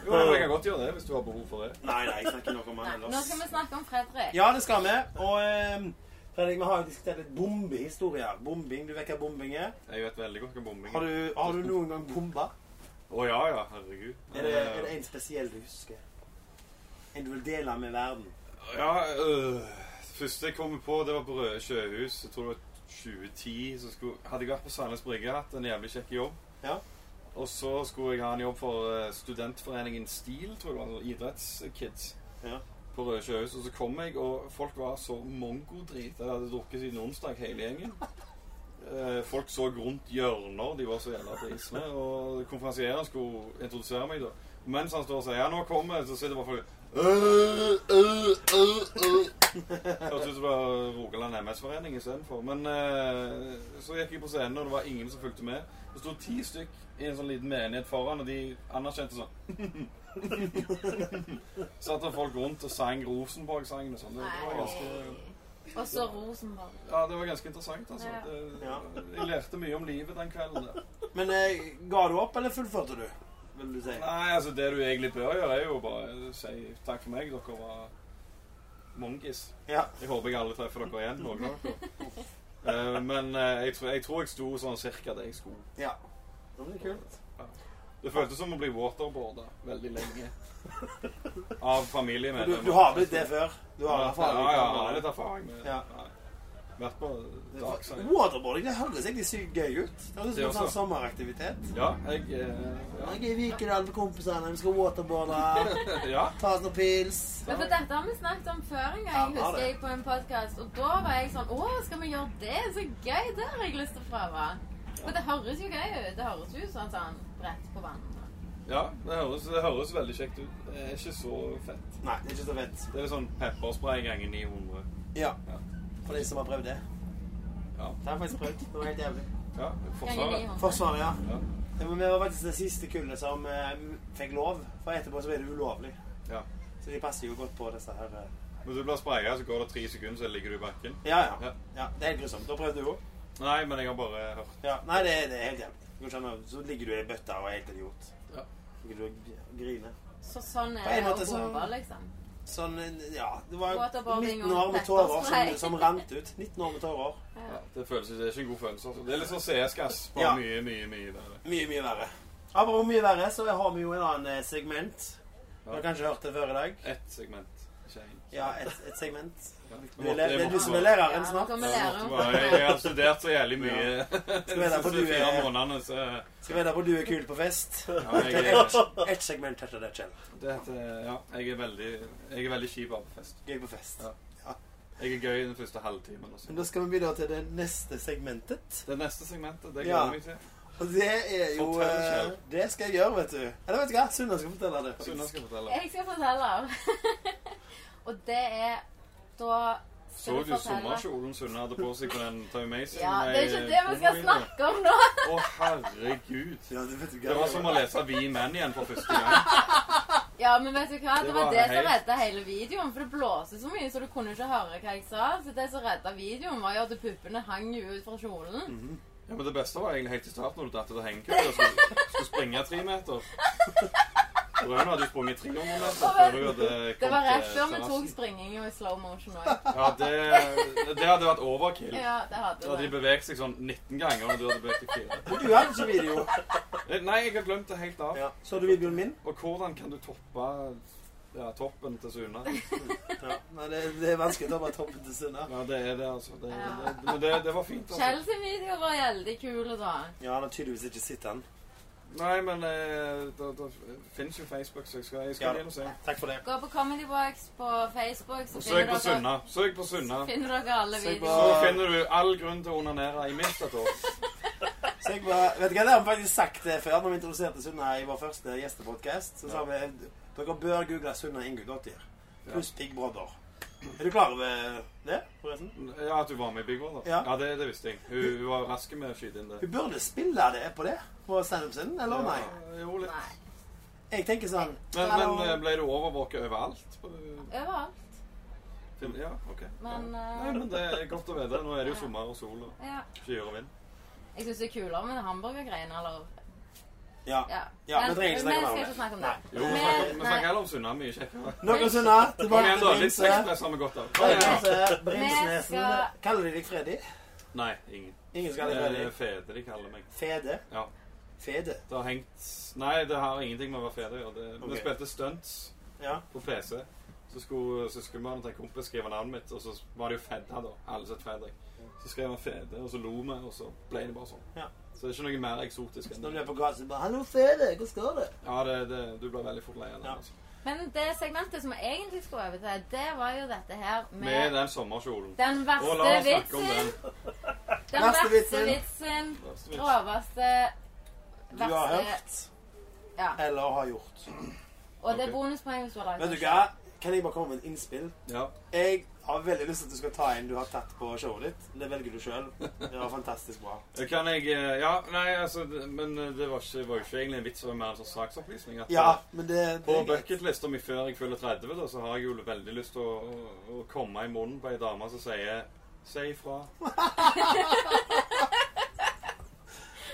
[SPEAKER 1] Jo, jeg kan godt gjøre det hvis du har behov for det.
[SPEAKER 3] nei, nei, jeg snakker nok om
[SPEAKER 5] Nei,
[SPEAKER 3] han
[SPEAKER 5] Nå skal vi
[SPEAKER 3] ellers.
[SPEAKER 5] snakke om Fredrik.
[SPEAKER 3] Ja, det skal vi. Og eh, Fredrik, vi har jo diskutert litt bombehistorier. Bombing, Du vet hva bombing er?
[SPEAKER 1] Jeg vet veldig godt hva bombing
[SPEAKER 3] Har
[SPEAKER 1] er.
[SPEAKER 3] du, har du noen gang bomba?
[SPEAKER 1] Å ja, ja. Herregud.
[SPEAKER 3] Er det, er det en spesiell du husker? En du vil dele med verden?
[SPEAKER 1] Ja, øh, første jeg kom på, det var på Røde Sjøhus. Jeg tror det var 2010. Så skulle, hadde jeg vært på Sandnes Brygge, hatt en jævlig kjekk jobb.
[SPEAKER 3] Ja.
[SPEAKER 1] Og så skulle jeg ha en jobb for eh, studentforeningen STIL, tror jeg det var. altså Idrettskids.
[SPEAKER 3] Ja.
[SPEAKER 1] På Røde Sjøhus. Og så kom jeg, og folk var så mongodrit. De hadde drukket siden onsdag, hele gjengen. Eh, Folk så rundt hjørner, de var så jævla prisene. Og konferansieren skulle introdusere meg, da. Mens han står og sier 'ja, nå kommer jeg', så sitter bare folk «Øh, øh, øh, øh». Hørtes ut som det var Rogaland MS-forening istedenfor. Men eh, så gikk jeg på scenen, og det var ingen som fulgte med. Det sto ti stykk i en sånn liten menighet foran, og de anerkjente sånn Satt det folk rundt og sang Rosenborg-sangen og sånn. Det, det var ganske
[SPEAKER 5] Nei. Og så Rosenborg.
[SPEAKER 1] ja, det var ganske interessant. altså.
[SPEAKER 5] Ja.
[SPEAKER 1] Det,
[SPEAKER 3] Ja.
[SPEAKER 1] Jeg lærte mye om livet den kvelden. der.
[SPEAKER 3] Men eh, ga du opp, eller fullførte du? Vil du si.
[SPEAKER 1] Nei, altså Det du egentlig bør gjøre, er jo bare si takk for meg. Dere var mongis.
[SPEAKER 3] Ja.
[SPEAKER 1] Jeg håper jeg aldri treffer dere igjen. noen av dere. Eh, men eh, jeg, tror, jeg tror jeg sto sånn cirka der jeg skulle.
[SPEAKER 3] ja. Det blir kult.
[SPEAKER 1] Det føltes som å bli waterboarda veldig lenge. Av
[SPEAKER 3] Du,
[SPEAKER 1] familiemedlemmer.
[SPEAKER 3] du har blitt det før? Du har
[SPEAKER 1] Ja,
[SPEAKER 3] erfaring?
[SPEAKER 1] ja, ja, jeg har litt erfaring med
[SPEAKER 3] Ja.
[SPEAKER 1] ja. Vært på dagsiden.
[SPEAKER 3] Waterboarding det høres egentlig sykt gøy ut. Det høres ut som
[SPEAKER 1] Det
[SPEAKER 3] en
[SPEAKER 1] også.
[SPEAKER 3] sånn sommeraktivitet.
[SPEAKER 1] Ja, jeg eh, ja.
[SPEAKER 3] Jeg er i Vikedal med kompisene, vi skal waterboarde,
[SPEAKER 1] ja.
[SPEAKER 3] ta oss noen pils.
[SPEAKER 5] Men for Dette har vi snakket om før en gang,
[SPEAKER 3] Ja, vi har
[SPEAKER 5] husker
[SPEAKER 3] det.
[SPEAKER 5] jeg, på en podcast Og da var jeg sånn Å, skal vi gjøre det? Så gøy! Det har jeg lyst til å prøve. For det høres jo gøy ut. Det høres jo sånn sånn brett på vannet.
[SPEAKER 1] ja det, høres, det høres veldig kjekt ut. Det er ikke så fett.
[SPEAKER 3] Nei, det er ikke så fett.
[SPEAKER 1] Det er litt sånn pepperspray ganger 900.
[SPEAKER 3] Ja.
[SPEAKER 1] Ja.
[SPEAKER 3] For de som har prøvd det.
[SPEAKER 1] Ja.
[SPEAKER 3] Det har jeg faktisk prøvd. Det var helt jævlig.
[SPEAKER 1] Ja,
[SPEAKER 5] Ganger
[SPEAKER 1] forsvaret.
[SPEAKER 5] 900.
[SPEAKER 3] Forsvaret, ja.
[SPEAKER 1] Ja.
[SPEAKER 3] Det var, vi var faktisk det siste kullet som eh, fikk lov. For etterpå så ble det ulovlig.
[SPEAKER 1] Ja.
[SPEAKER 3] Så de passer jo godt på disse her eh.
[SPEAKER 1] Når du blir spraya, så går det tre sekunder, så ligger du i bakken.
[SPEAKER 3] Ja,
[SPEAKER 1] Ja.
[SPEAKER 3] ja. ja det er helt grusomt. Da prøvde du òg.
[SPEAKER 1] Nei, men jeg har bare hørt
[SPEAKER 3] Ja. Nei, det, er- det er helt jævlig. Du kan skjønne, Så ligger du i ei bøtte og er helt idiot.
[SPEAKER 1] Ja.
[SPEAKER 3] Ligger du og griner.
[SPEAKER 5] Så sånn
[SPEAKER 3] På en
[SPEAKER 5] er det
[SPEAKER 3] måte
[SPEAKER 5] å
[SPEAKER 3] så-
[SPEAKER 5] bombe, liksom.
[SPEAKER 3] Sånn, ja Det var
[SPEAKER 5] Waterboarding
[SPEAKER 3] 19
[SPEAKER 5] og
[SPEAKER 3] år med tårer som,
[SPEAKER 5] pepperspray.
[SPEAKER 3] som rant ut. 19 år med tårer.
[SPEAKER 1] ja, det, føles, det er ikke en god følelse. Altså. Det er litt sånn CS-gass. Bare
[SPEAKER 3] Ja.
[SPEAKER 1] mye, mye, mye verre.
[SPEAKER 3] Mye, mye verre. Apropos mye verre, så har vi jo en annen eh, segment. Du
[SPEAKER 1] Ja.
[SPEAKER 3] har kanskje hørt det før i dag?
[SPEAKER 1] Ett segment. Ikke én.
[SPEAKER 3] Ja, et, et segment.
[SPEAKER 1] Ja. Jeg
[SPEAKER 3] Du er,
[SPEAKER 1] måtte-
[SPEAKER 3] le-
[SPEAKER 1] jeg
[SPEAKER 3] det er du
[SPEAKER 1] måtte
[SPEAKER 3] som er
[SPEAKER 1] bare-
[SPEAKER 5] Ja,
[SPEAKER 3] læreren
[SPEAKER 5] nå
[SPEAKER 3] snart.
[SPEAKER 5] kan vi
[SPEAKER 1] jeg
[SPEAKER 5] lære
[SPEAKER 1] måtte
[SPEAKER 5] om
[SPEAKER 1] bare- Jeg jeg har studert så jævlig mye
[SPEAKER 3] Skal vi da, for
[SPEAKER 1] de
[SPEAKER 3] du
[SPEAKER 1] fire
[SPEAKER 3] er-
[SPEAKER 1] månedene, så
[SPEAKER 3] Skal vi vite hvor du er kul på fest?
[SPEAKER 1] ja, jeg,
[SPEAKER 3] Et,
[SPEAKER 1] er-
[SPEAKER 3] et segment heter det, Kjell.
[SPEAKER 1] det heter- ja, jeg er veldig Jeg er veldig kjip av fest.
[SPEAKER 3] Gøy på fest.
[SPEAKER 1] Ja. Jeg er gøy den første halvtimen. altså. Også.
[SPEAKER 3] Men da skal vi videre til det neste segmentet.
[SPEAKER 1] Det neste segmentet, det
[SPEAKER 3] Ja.
[SPEAKER 1] gleder jeg meg til.
[SPEAKER 3] Og det er jo
[SPEAKER 1] Fortell, Kjell.
[SPEAKER 3] eh, Det skal jeg gjøre, vet du. Eller vet du hva? Sunna skal fortelle det.
[SPEAKER 1] Sunna skal fortelle.
[SPEAKER 5] Jeg skal fortelle. og det er da
[SPEAKER 1] Så du sommerkjolen Sunne hadde på seg på den Time Mason?
[SPEAKER 5] Ja, det er ikke det vi skal snakke om nå.
[SPEAKER 1] Å, herregud.
[SPEAKER 3] Ja, det vet du
[SPEAKER 1] Det var som å lese Vi menn igjen for første gang.
[SPEAKER 5] Ja, men vet du hva? Det,
[SPEAKER 1] Det
[SPEAKER 5] var
[SPEAKER 1] var
[SPEAKER 5] det som
[SPEAKER 1] helt-
[SPEAKER 5] redda hele videoen. For det blåste så mye, så du kunne ikke høre hva jeg sa. Så det som redda videoen, var jo at puppene hang jo ut fra kjolen.
[SPEAKER 1] Ja, men Det beste var egentlig helt i starten, når du datt ut av hengekøya og skulle, skulle springe tre meter. Røen hadde jo sprunget 300 meter før hun hadde kommet
[SPEAKER 5] Det var rett før
[SPEAKER 1] til
[SPEAKER 5] vi tok
[SPEAKER 1] terrassen.
[SPEAKER 5] springingen i slow motion òg.
[SPEAKER 1] Ja, det, det hadde vært overkill.
[SPEAKER 5] Ja, det
[SPEAKER 1] Da
[SPEAKER 5] hadde
[SPEAKER 1] hadde de
[SPEAKER 5] det.
[SPEAKER 1] beveget seg sånn 19 ganger, og du hadde beveget deg fire. Eh,
[SPEAKER 3] Du hadde ikke video.
[SPEAKER 1] Nei, jeg har glemt det helt av.
[SPEAKER 3] Ja. Så du videoen min?
[SPEAKER 1] Og hvordan kan du toppe ja, toppen til Suna?
[SPEAKER 3] Ja. Nei, det, det er vanskelig å ta bare toppen til Sunna.
[SPEAKER 1] Ja, det er det, altså. Det,
[SPEAKER 5] Ja.
[SPEAKER 1] det, men det, det var fint. altså.
[SPEAKER 5] Kjell sin video var veldig kul sånn. da.
[SPEAKER 3] Ja, han har tydeligvis ikke sett den.
[SPEAKER 1] Nei, men eh, det, det fins jo Facebook, så jeg skal, jeg
[SPEAKER 3] Ja
[SPEAKER 1] skal
[SPEAKER 3] da.
[SPEAKER 1] inn og se.
[SPEAKER 3] Takk for det.
[SPEAKER 5] Gå på Comedy Box på Facebook, så
[SPEAKER 1] Og søk på
[SPEAKER 5] finner
[SPEAKER 1] Sunna. Søk på Sunna.
[SPEAKER 5] dere, finner dere alle
[SPEAKER 3] Søk på-
[SPEAKER 5] videoer.
[SPEAKER 1] Så finner du all grunn til å onanere i minst et år.
[SPEAKER 3] Så jeg bare, vet du hva, Det har vi faktisk sagt det før når vi introduserte Sunna i vår første gjestepodkast. Så sa vi dere bør google Sunna Ingu Dottir. Pluss Big Brother. Er du klar over det, forresten?
[SPEAKER 1] Ja, At du var med i Big Brother?
[SPEAKER 3] Ja.
[SPEAKER 1] ja det, det visste jeg. Hun, hun var rask med å skyte inn det.
[SPEAKER 3] Hun burde spille det på det på standup sin, eller nei?
[SPEAKER 1] Ja, jo, litt.
[SPEAKER 5] Nei.
[SPEAKER 3] Jeg tenker sånn
[SPEAKER 1] Men, men eh, ble du overvåket overalt? På,
[SPEAKER 5] Overalt.
[SPEAKER 1] film? Ja, ok.
[SPEAKER 5] Men
[SPEAKER 1] Nei,
[SPEAKER 5] eh,
[SPEAKER 1] men det er godt å vite. Nå er det jo sommer og sol og
[SPEAKER 5] ja.
[SPEAKER 1] skyer og vind.
[SPEAKER 5] Jeg syns det er kulere med hamburgergreiene, eller
[SPEAKER 3] Ja.
[SPEAKER 5] Ja.
[SPEAKER 3] Ja, men trenger ikke snakke mer om
[SPEAKER 5] vi skal
[SPEAKER 3] det.
[SPEAKER 5] ikke snakke om det.
[SPEAKER 1] Jo, vi
[SPEAKER 5] Men-
[SPEAKER 1] snakker, vi
[SPEAKER 5] nei.
[SPEAKER 1] snakker heller om Sunna. Mye kjekkere.
[SPEAKER 3] Noe Sunna,
[SPEAKER 1] Kom
[SPEAKER 3] tilbake
[SPEAKER 1] igjen, da.
[SPEAKER 3] til
[SPEAKER 1] Litt
[SPEAKER 3] Brimse.
[SPEAKER 1] sexpress har vi godt av. Kom igjen, da.
[SPEAKER 3] Brimse,
[SPEAKER 5] Vi
[SPEAKER 3] Brimsnesen.
[SPEAKER 5] skal-
[SPEAKER 3] Kaller de deg Freddy?
[SPEAKER 1] Nei, ingen.
[SPEAKER 3] Ingen skal
[SPEAKER 1] Det
[SPEAKER 3] kalle deg
[SPEAKER 1] er
[SPEAKER 3] Freddy.
[SPEAKER 1] fede de kaller meg.
[SPEAKER 3] Fede.
[SPEAKER 1] Ja.
[SPEAKER 3] Fede.
[SPEAKER 1] Det har hengt Nei, det har ingenting med å være fede å gjøre. Det- Vi
[SPEAKER 3] Ok.
[SPEAKER 1] spilte stunts
[SPEAKER 3] Ja.
[SPEAKER 1] på PC. Så skulle søskenbarnet til en kompis skrive navnet mitt, og så var det jo Fedda, da. Alle het Fredrik. Så skrev han Fede, og så lo vi, og så ble det bare sånn.
[SPEAKER 3] Ja.
[SPEAKER 1] Så det er ikke noe mer eksotisk
[SPEAKER 3] Så
[SPEAKER 1] enn
[SPEAKER 3] Når du
[SPEAKER 1] det.
[SPEAKER 3] er på gata, så bare 'Hallo, Fede, hvordan går det?'
[SPEAKER 1] Ja, det, det, du blir veldig fort lei av det.
[SPEAKER 3] Ja.
[SPEAKER 1] Altså.
[SPEAKER 5] Men det segmentet som vi egentlig skulle over til, det var jo dette her med
[SPEAKER 1] Med den sommerkjolen.
[SPEAKER 5] den
[SPEAKER 1] Og
[SPEAKER 5] verste
[SPEAKER 1] la oss snakke om
[SPEAKER 5] vitsen.
[SPEAKER 1] den.
[SPEAKER 5] Den
[SPEAKER 3] Verste
[SPEAKER 5] verste
[SPEAKER 3] vitsen.
[SPEAKER 5] vitsen.
[SPEAKER 1] Verste vits.
[SPEAKER 5] Groveste
[SPEAKER 3] Du har
[SPEAKER 5] verste
[SPEAKER 3] hørt
[SPEAKER 5] Ja.
[SPEAKER 3] eller har gjort.
[SPEAKER 5] Og det
[SPEAKER 1] Ok.
[SPEAKER 5] er bonuspoeng hvis du har
[SPEAKER 3] Vet
[SPEAKER 5] laget
[SPEAKER 3] du hva? Kan jeg bare komme med et innspill?
[SPEAKER 1] Ja.
[SPEAKER 3] Jeg har veldig lyst til at du skal ta en du har tatt på showet ditt. Det velger du sjøl. Det var fantastisk bra.
[SPEAKER 1] Kan jeg eh, Ja, nei, altså det- Men eh, det var, ikke, var jo ikke egentlig en vits, det var mer en sånn saksopplysning. At,
[SPEAKER 3] Ja,
[SPEAKER 1] eh,
[SPEAKER 3] men det, det
[SPEAKER 1] På bucketlista mi før jeg fyller 30, da, så har jeg jo veldig lyst til å, å, å komme i munnen på ei dame som sier Si ifra.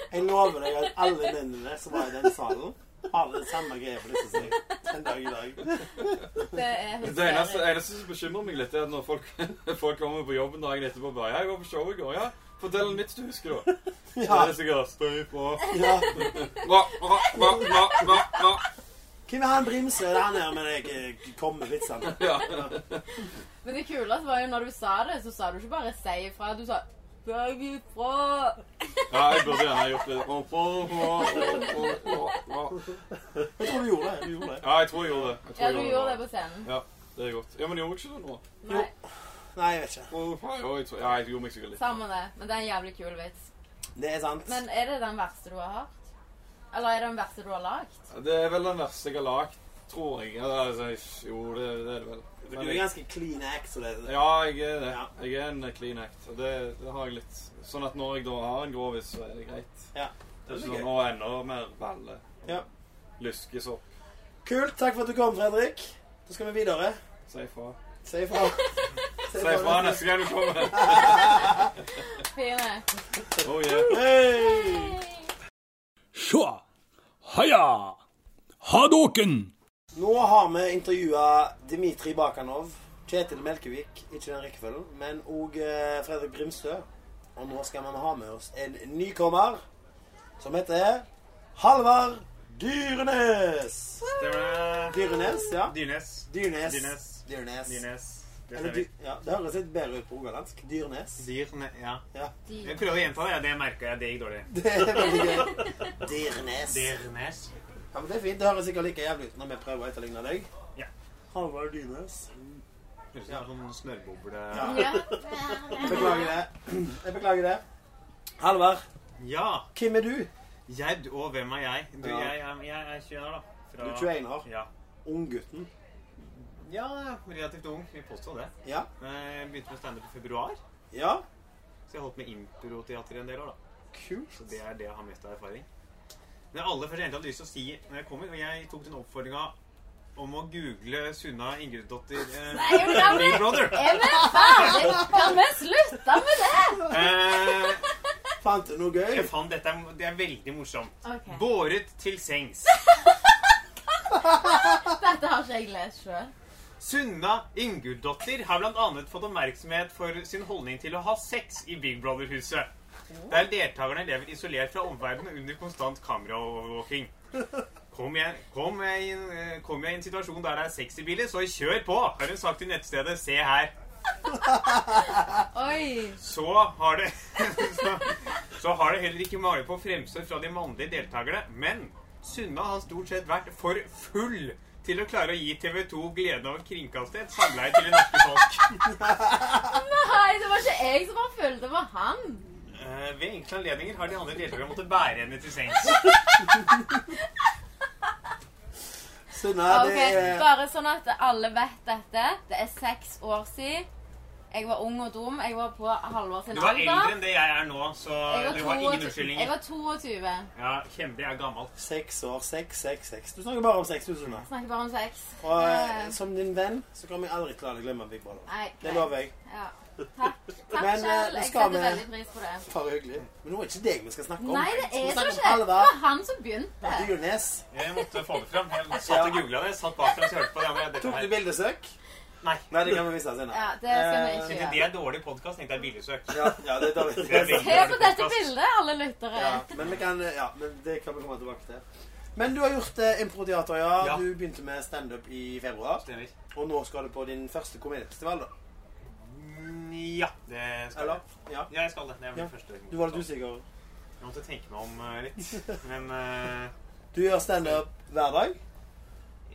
[SPEAKER 3] Jeg lover deg at alle mennene som var i den salen, har den samme greia på disse seg den dag i dag.
[SPEAKER 5] Det er
[SPEAKER 1] Det eneste,
[SPEAKER 5] hysterisk.
[SPEAKER 1] eneste som bekymrer meg litt, er at når folk, folk kommer på jobben dagen etterpå og bare Ja, jeg var på show i går, ja. Fortell en vits du husker, da. Det
[SPEAKER 3] Ja,
[SPEAKER 1] er det sikkert Stå ifra.
[SPEAKER 3] ja.
[SPEAKER 1] Hva, hva, hva, hva, hva, hva.
[SPEAKER 3] Hvem er han Brimse? Det er han her med de komme vitsene.
[SPEAKER 5] Men det kuleste var jo når du sa det, så sa du ikke bare 'si ifra'. Du sa 'sag ifra'.
[SPEAKER 1] Ja, jeg burde gjerne gjort det. Å, å, å, å, å, å, å.
[SPEAKER 3] Jeg tror du gjorde det. Du gjorde det.
[SPEAKER 1] Ja, jeg tror jeg gjorde det. Jeg tror
[SPEAKER 5] Ja,
[SPEAKER 1] jeg
[SPEAKER 5] du gjorde det på scenen.
[SPEAKER 1] Ja, det er godt. Ja, men gjorde jeg ikke det nå?
[SPEAKER 5] Nei,
[SPEAKER 3] Nei, jeg vet ikke.
[SPEAKER 1] Å, faen, ja, jeg tror- Ja, jeg gjorde meg sikkert litt.
[SPEAKER 5] samme det. Men det er en jævlig kul vits.
[SPEAKER 3] Det er sant.
[SPEAKER 5] Men er det den verste du har hørt? Eller er det den verste du har lagd?
[SPEAKER 1] Det er vel den verste jeg har lagd, tror jeg. Eller, altså, jo, det, det er det vel.
[SPEAKER 3] Du er ganske clean act, så det er
[SPEAKER 1] Ja, jeg er det.
[SPEAKER 3] Ja.
[SPEAKER 1] Jeg er en clean act. og Det, det har jeg litt. Sånn at når jeg da har en grovis, så er det greit.
[SPEAKER 3] Ja.
[SPEAKER 1] Det er
[SPEAKER 3] Det
[SPEAKER 1] ikke
[SPEAKER 3] blir
[SPEAKER 1] sånn,
[SPEAKER 3] gøy.
[SPEAKER 1] og enda mer balle.
[SPEAKER 3] Ja.
[SPEAKER 1] Lyskes opp.
[SPEAKER 3] Kult. Takk for at du kom, Fredrik. Da skal vi videre.
[SPEAKER 1] Si ifra.
[SPEAKER 3] Si ifra.
[SPEAKER 1] Si ifra neste gang du kommer.
[SPEAKER 5] Fine.
[SPEAKER 1] Oh, yeah.
[SPEAKER 3] Hei!
[SPEAKER 2] Tja! Heia! Hadoken!
[SPEAKER 3] Nå har vi intervjua Dimitri Bakanov, Kjetil Melkevik, ikke den rekkefølgen, men òg eh, Fredrik Brimstø. Og nå skal vi ha med oss en nykommer som heter Halvard Dyrenes. Dyrenes, ja.
[SPEAKER 9] Dynes.
[SPEAKER 3] Dyrnes.
[SPEAKER 9] Dyrnes.
[SPEAKER 3] Dyrnes.
[SPEAKER 9] Dynes. Det
[SPEAKER 3] Eller,
[SPEAKER 9] ser
[SPEAKER 3] dy
[SPEAKER 9] vi.
[SPEAKER 3] ja, det høres litt bedre ut på rogalandsk. Dyrnes.
[SPEAKER 9] Dyrne, ja.
[SPEAKER 3] Ja.
[SPEAKER 9] Jeg prøver å gjenta det, ja, det merka jeg. Det gikk dårlig.
[SPEAKER 3] Det er veldig gøy. Dyrnes.
[SPEAKER 9] Dyrnes.
[SPEAKER 3] Ja, men det er fint. Det høres sikkert like jævlig ut når vi prøver å etterligne deg.
[SPEAKER 9] Ja.
[SPEAKER 3] Halvard Dyrnes.
[SPEAKER 9] Høres ut som en sånn snørrboble.
[SPEAKER 3] Ja.
[SPEAKER 5] Ja.
[SPEAKER 3] Beklager det. Jeg beklager det. Halvard,
[SPEAKER 9] Ja.
[SPEAKER 3] hvem er du?
[SPEAKER 9] Jeg, du- og hvem er jeg? Du,
[SPEAKER 3] Ja.
[SPEAKER 9] jeg, er- jeg er 21 år, da.
[SPEAKER 3] Du
[SPEAKER 9] Fra,
[SPEAKER 3] er 21 år.
[SPEAKER 9] Ja.
[SPEAKER 3] Unggutten.
[SPEAKER 9] ja, relativt ung. Vi påstå det.
[SPEAKER 3] Ja.
[SPEAKER 9] Eh, Jeg begynte med standup i februar,
[SPEAKER 3] Ja.
[SPEAKER 9] så jeg holdt med improteater i en del år. da.
[SPEAKER 3] Kult.
[SPEAKER 9] Så det er det jeg har mest av erfaring. Det aller første jeg egentlig hadde lyst til å si når jeg kom hit, og jeg tok den oppfordringa om å google Sunna Ingridsdottir eh,
[SPEAKER 5] Er du gammel?
[SPEAKER 9] Big Brother.
[SPEAKER 5] Er vi ferdig? Kan vi slutte med det?
[SPEAKER 9] Eh,
[SPEAKER 3] Fant du noe gøy?
[SPEAKER 9] jeg fant dette er- det er veldig morsomt.
[SPEAKER 5] Ok,
[SPEAKER 9] Båret til sengs.
[SPEAKER 5] Dette har ikke jeg lest sjøl.
[SPEAKER 9] Sunna Inguldotter har bl.a. fått oppmerksomhet for sin holdning til å ha sex i Big Brother-huset. Der deltakerne lever isolert fra omverdenen under konstant kameraovervåking. Kom jeg, kom, jeg i en, eh, kom jeg i en situasjon der det er sexy biler, så kjør på, har hun sagt til nettstedet Se her.
[SPEAKER 5] Oi!
[SPEAKER 9] Så har det så, så har det heller ikke mage på fremstøt fra de mannlige deltakerne. Men Sunna har stort sett vært for full til å klare å gi TV 2 gleden av å kringkaste et samleie til det norske folk.
[SPEAKER 5] Nei, det var ikke jeg som var full, det var han.
[SPEAKER 9] Eh, ved enkle anledninger har de andre deltakerne måttet bære henne til sengs.
[SPEAKER 7] Så nei,
[SPEAKER 5] Ok,
[SPEAKER 7] det er
[SPEAKER 5] Bare sånn at alle vet dette. Det er seks år siden. Jeg var ung og dum. Jeg var på Halvor sin
[SPEAKER 9] Du var eldre
[SPEAKER 5] alder.
[SPEAKER 9] enn det jeg er nå, så
[SPEAKER 5] Jeg var
[SPEAKER 9] du har ingen
[SPEAKER 5] 22. Jeg
[SPEAKER 9] unnskyldninger.
[SPEAKER 5] var 22.
[SPEAKER 9] Ja, Kjempe er gammel.
[SPEAKER 3] Seks år, seks, seks, seks. Du snakker bare om seks, du, Sunna.
[SPEAKER 5] Snakker bare om sex.
[SPEAKER 3] Og eh,
[SPEAKER 5] Eh,
[SPEAKER 3] som din venn så kommer jeg aldri til å la deg glemme Big Brother.
[SPEAKER 5] Nei,
[SPEAKER 3] Det lover jeg.
[SPEAKER 5] Ja. Takk. Takk
[SPEAKER 3] Men, eh,
[SPEAKER 5] selv.
[SPEAKER 3] nå
[SPEAKER 5] Jeg
[SPEAKER 3] skal
[SPEAKER 5] setter
[SPEAKER 3] vi-
[SPEAKER 5] veldig pris på det.
[SPEAKER 3] Bare hyggelig. Men nå er det ikke deg vi skal snakke om.
[SPEAKER 5] Nei, det
[SPEAKER 3] vi
[SPEAKER 5] er
[SPEAKER 3] snakke
[SPEAKER 5] det
[SPEAKER 3] om
[SPEAKER 5] ikke. Det
[SPEAKER 3] Halvard?
[SPEAKER 5] var han som begynte.
[SPEAKER 3] Dyrnes.
[SPEAKER 9] Jeg måtte få det fram. Jeg satt og googla det. Satt bak og hørte på det. men Dette
[SPEAKER 3] Tok du
[SPEAKER 9] her.
[SPEAKER 3] bildesøk?
[SPEAKER 9] Nei.
[SPEAKER 3] Nei, det kan vi vise senere.
[SPEAKER 5] Ja, det skal vi
[SPEAKER 3] Eh,
[SPEAKER 5] ikke
[SPEAKER 9] Siden
[SPEAKER 5] gjøre.
[SPEAKER 9] det er dårlig podkast, tenkte jeg billigsøk.
[SPEAKER 3] Ja, ja, det er dårlig.
[SPEAKER 9] Det er veldig
[SPEAKER 5] Se på
[SPEAKER 9] dårlig
[SPEAKER 5] dette
[SPEAKER 9] podcast.
[SPEAKER 5] bildet, alle lyttere.
[SPEAKER 3] Ja, men, vi kan, ja, men det kan vi komme tilbake til. Men du har gjort eh, improteater, ja.
[SPEAKER 9] Ja.
[SPEAKER 3] Du begynte med standup i februar.
[SPEAKER 9] Stemmer.
[SPEAKER 3] Og nå skal du på din første komediefestival, da.
[SPEAKER 9] Mm, Ja, det skal
[SPEAKER 3] Eller?
[SPEAKER 9] jeg.
[SPEAKER 3] Ja.
[SPEAKER 9] Ja, jeg skal det. Det er min
[SPEAKER 3] Ja.
[SPEAKER 9] første
[SPEAKER 3] Du var litt usikker.
[SPEAKER 9] Jeg måtte tenke meg om eh, litt. Men eh,
[SPEAKER 3] Du gjør standup hver dag